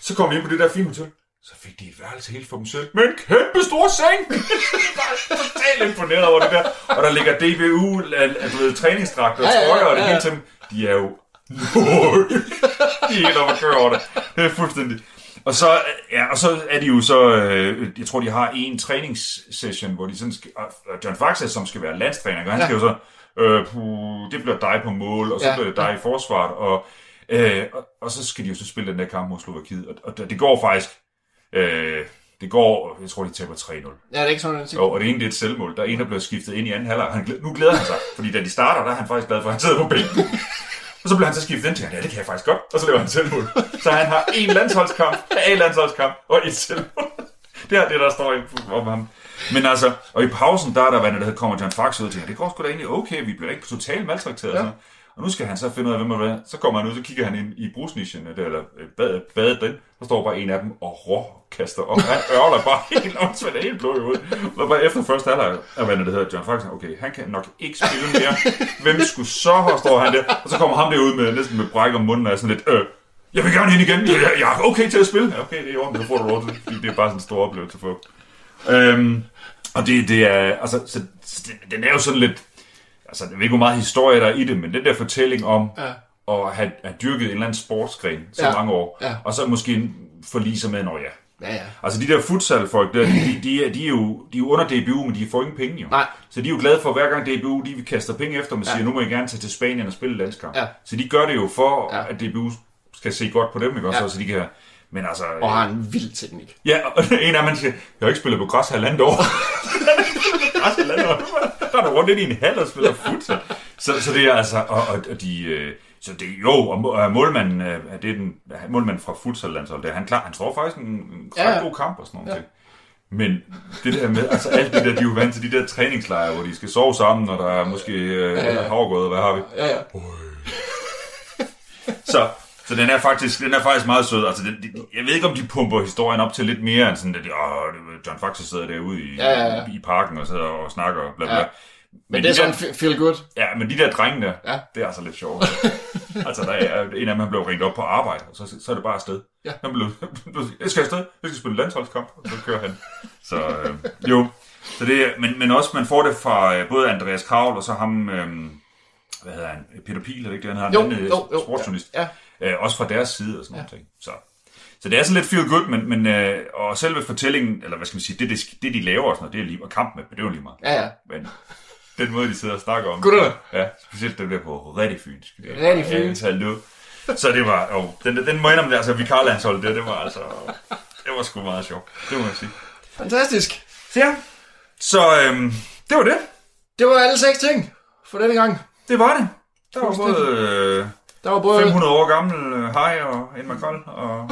Speaker 5: Så kom jeg ind på det der fine hotel. Så fik de et værelse helt for dem selv, med en kæmpe stor seng! Jeg er totalt imponeret over det der. Og der ligger DBU, al- al- øh, du ved, træningsdragter og
Speaker 4: Ja, ja, ja,
Speaker 5: trøjer, og det
Speaker 4: ja, ja.
Speaker 5: hele til dem. De er jo... Nøj. de er helt oppe at køre over det. Det er fuldstændig... Og så, øh, ja, og så er de jo så, øh, jeg tror, de har en træningssession, hvor de sådan skal, og og John Faxe, som skal være landstræner, ikke? han
Speaker 4: Ja.
Speaker 5: ja. skal jo så, øh, puh, det bliver dig på mål, og så
Speaker 4: Ja.
Speaker 5: ja. bliver det dig i forsvaret, og, øh, og, og, så skal de jo så spille den der kamp mod Slovakiet, og, og det går faktisk, øh, det går, jeg tror, de taber 3-0.
Speaker 4: Ja, det er ikke sådan, at
Speaker 5: Jo, og det ene det er et selvmål. Der er en, der bliver skiftet ind i anden halvleg. Han, glæ- nu glæder han sig, fordi da de starter, der er han faktisk glad for, at han sidder på bænken. Og så bliver han så skiftet ind til, ja, det kan jeg faktisk godt. Og så laver han et selvmål. Så han har en landsholdskamp, en landsholdskamp og et selvmål. Det er det, der står i- om ham. Men altså, og i pausen, der er der, hvad der hedder, kommer John Fax ud og tænker, det går sgu da egentlig okay, vi bliver ikke totalt maltrakteret. Ja. Og nu skal han så finde ud af, hvem er hvad. Så kommer han ud, så kigger han ind i brusnischen, eller- eller øh, badet, badet den. Så står bare en af dem og råkaster op. Han ørler bare helt åndssvagt, er helt blå i hovedet. Og bare efter første halvleg af, hvad det hedder, John Fax, okay, han kan nok ikke spille mere. Hvem skulle så, og står han der. Og så kommer ham derud med, næsten med bræk om munden, og er sådan lidt, øh, jeg vil gerne ind igen. Jeg, jeg, jeg er okay til at spille. Ja, okay, det er i orden, så får du lov til det, fordi det er bare sådan en stor oplevelse at få. Øhm, og det, det er, altså, så, så det, den er jo sådan lidt, altså, jeg ved ikke, hvor meget historie der er i det, men den der fortælling om
Speaker 4: Ja.
Speaker 5: at have, have dyrket en eller anden sportsgren så
Speaker 4: Ja.
Speaker 5: ja. mange år,
Speaker 4: Ja.
Speaker 5: og så måske forlige sig med, når ja.
Speaker 4: Ja, ja.
Speaker 5: Altså de der futsalfolk, der, de, de, er, de, er jo, de er jo under DBU, men de får ingen penge jo.
Speaker 4: Nej.
Speaker 5: Så de er jo glade for, hver gang DBU de kaster penge efter dem og siger, ja. nu må I gerne tage til Spanien og spille landskamp.
Speaker 4: Ja.
Speaker 5: Så de gør det jo for,
Speaker 4: Ja.
Speaker 5: ja. at DBU skal se godt på dem, ikke også?
Speaker 4: Ja.
Speaker 5: Ja. Så de kan, men altså...
Speaker 4: Og har en vild teknik.
Speaker 5: Ja, og en af dem han siger, jeg har ikke spillet på græs halvandet år. græs halvandet år. Der er der rundt ind i en hal og spiller futsal. Så, så det er altså, og, og, og de, øh, så det jo, og må- og målmanden, øh, er det den, er målmanden fra futsallandsholdet, det er han klar, han tror faktisk en, en
Speaker 4: Ja,
Speaker 5: ja,
Speaker 4: ja.
Speaker 5: god kamp og sådan noget. Ja. Men det der med, altså alt det der, de er jo vant til de der træningslejre, hvor de skal sove sammen, og der er måske øh, ja, ja. havregået, hvad har vi?
Speaker 4: Ja, ja.
Speaker 5: Så, så den er faktisk den er faktisk meget sød. Altså, den, de, jeg ved ikke, om de pumper historien op til lidt mere end sådan, at de, åh, John Faxe sidder derude i,
Speaker 4: Ja, ja, ja.
Speaker 5: i parken og sidder og snakker og bla bla.
Speaker 4: Ja.
Speaker 5: Ja.
Speaker 4: Men det er
Speaker 5: de der,
Speaker 4: sådan fe- feel good.
Speaker 5: Ja, men de der drenge der,
Speaker 4: Ja.
Speaker 5: ja. det er altså lidt sjovt. altså, der er en af dem, han blev ringet op på arbejde, og så, så er det bare afsted.
Speaker 4: Ja.
Speaker 5: Han blev, jeg skal afsted, jeg skal spille landsholdskamp, og så kører han. Så øh, jo, så det, er- men, men også, man får det fra øh, både Andreas Kravl og så ham, øh, hvad hedder han, Peter Pil, er det ikke det, han har?
Speaker 4: Jo,
Speaker 5: han, øh,
Speaker 4: jo, jo.
Speaker 5: sportsjournalist.
Speaker 4: Ja.
Speaker 5: Øh, også fra deres side og sådan ja. noget. Så. så det er sådan lidt feel good, men, men øh, og selve fortællingen, eller hvad skal man sige, det, det, det de laver og sådan noget, det er lige, og kampen, det er jo lige meget.
Speaker 4: Ja, ja.
Speaker 5: Men den måde, de sidder og snakker om.
Speaker 4: Gutterne.
Speaker 5: Ja, specielt den der på rigtig fynsk. Det er
Speaker 4: Rigtig
Speaker 5: bare,
Speaker 4: fynsk.
Speaker 5: ja, så hallo. Så det var, jo, den, den må jeg indrømme, det, altså vikarlandsholdet, det, det var altså, det var sgu meget sjovt. Det må jeg sige.
Speaker 4: Fantastisk.
Speaker 5: Så ja, så øhm, det var det.
Speaker 4: Det var alle seks ting for denne gang.
Speaker 5: Det var det. Der var både øh,
Speaker 4: Der var både...
Speaker 5: 500 år gammel øh, hej og en makrel og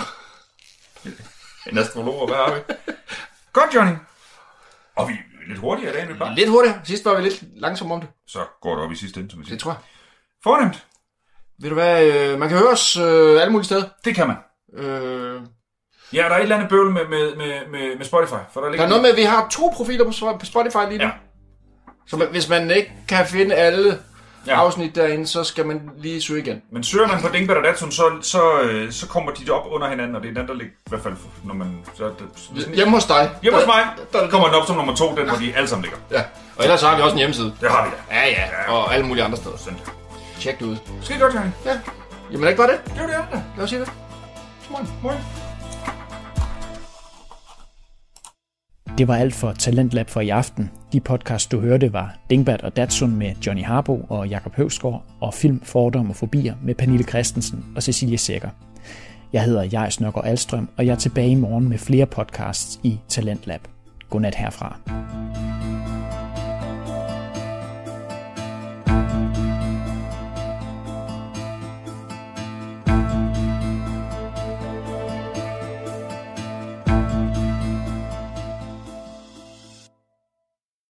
Speaker 5: en astrolog, og hvad har vi? Godt, Johnny. Og vi er lidt hurtigere i dag, end vi plejer.
Speaker 4: Lidt hurtigere. Sidst var vi lidt langsomme om det.
Speaker 5: Så går det op i sidste ende, som vi
Speaker 4: Det
Speaker 5: siger.
Speaker 4: tror jeg.
Speaker 5: Fornemt.
Speaker 4: Ved du hvad, øh, man kan høre os øh, alle mulige steder.
Speaker 5: Det kan man.
Speaker 4: Øh,
Speaker 5: Ja, der er et eller andet bøvl med, med, med, med, med Spotify, for der
Speaker 4: der
Speaker 5: ligger...
Speaker 4: er noget med, at vi har to profiler på Spo- på Spotify lige nu.
Speaker 5: Ja.
Speaker 4: Ja. Så man- hvis man ikke kan finde alle ja.
Speaker 5: Ja.
Speaker 4: afsnit derinde, så skal man lige søge igen.
Speaker 5: Men søger man på Dingbat og Datsun, så, så, øh, så kommer de op under hinanden, og det er den, der ligger i hvert fald, når man... Så, det,
Speaker 4: Hjemme hos dig.
Speaker 5: hjemme hos mig, der kommer den op som nummer to, den hvor de alle sammen ligger.
Speaker 4: Ja. Og ellers så har vi også en hjemmeside.
Speaker 5: Det har vi da.
Speaker 4: Ja, ja. Og alle mulige andre steder.
Speaker 5: Sådan.
Speaker 4: Tjek det ud.
Speaker 5: Skide godt, Johnny.
Speaker 4: Ja. Jamen er det ikke bare det?
Speaker 5: Det var det, jeg havde.
Speaker 4: Lad os sige det. Godmorgen.
Speaker 5: Moin.
Speaker 1: Det var alt for Talentlab for i aften. De podcast, du hørte, var Dingbat og Datsun med Johnny Harbo og Jakob Høvsgaard, og Film, Fordom og Fobier med Pernille Christensen og Cecilie Sækker. Jeg hedder Jais Nørgaard Alstrøm, og jeg er tilbage i morgen med flere podcasts i Talentlab. Godnat herfra.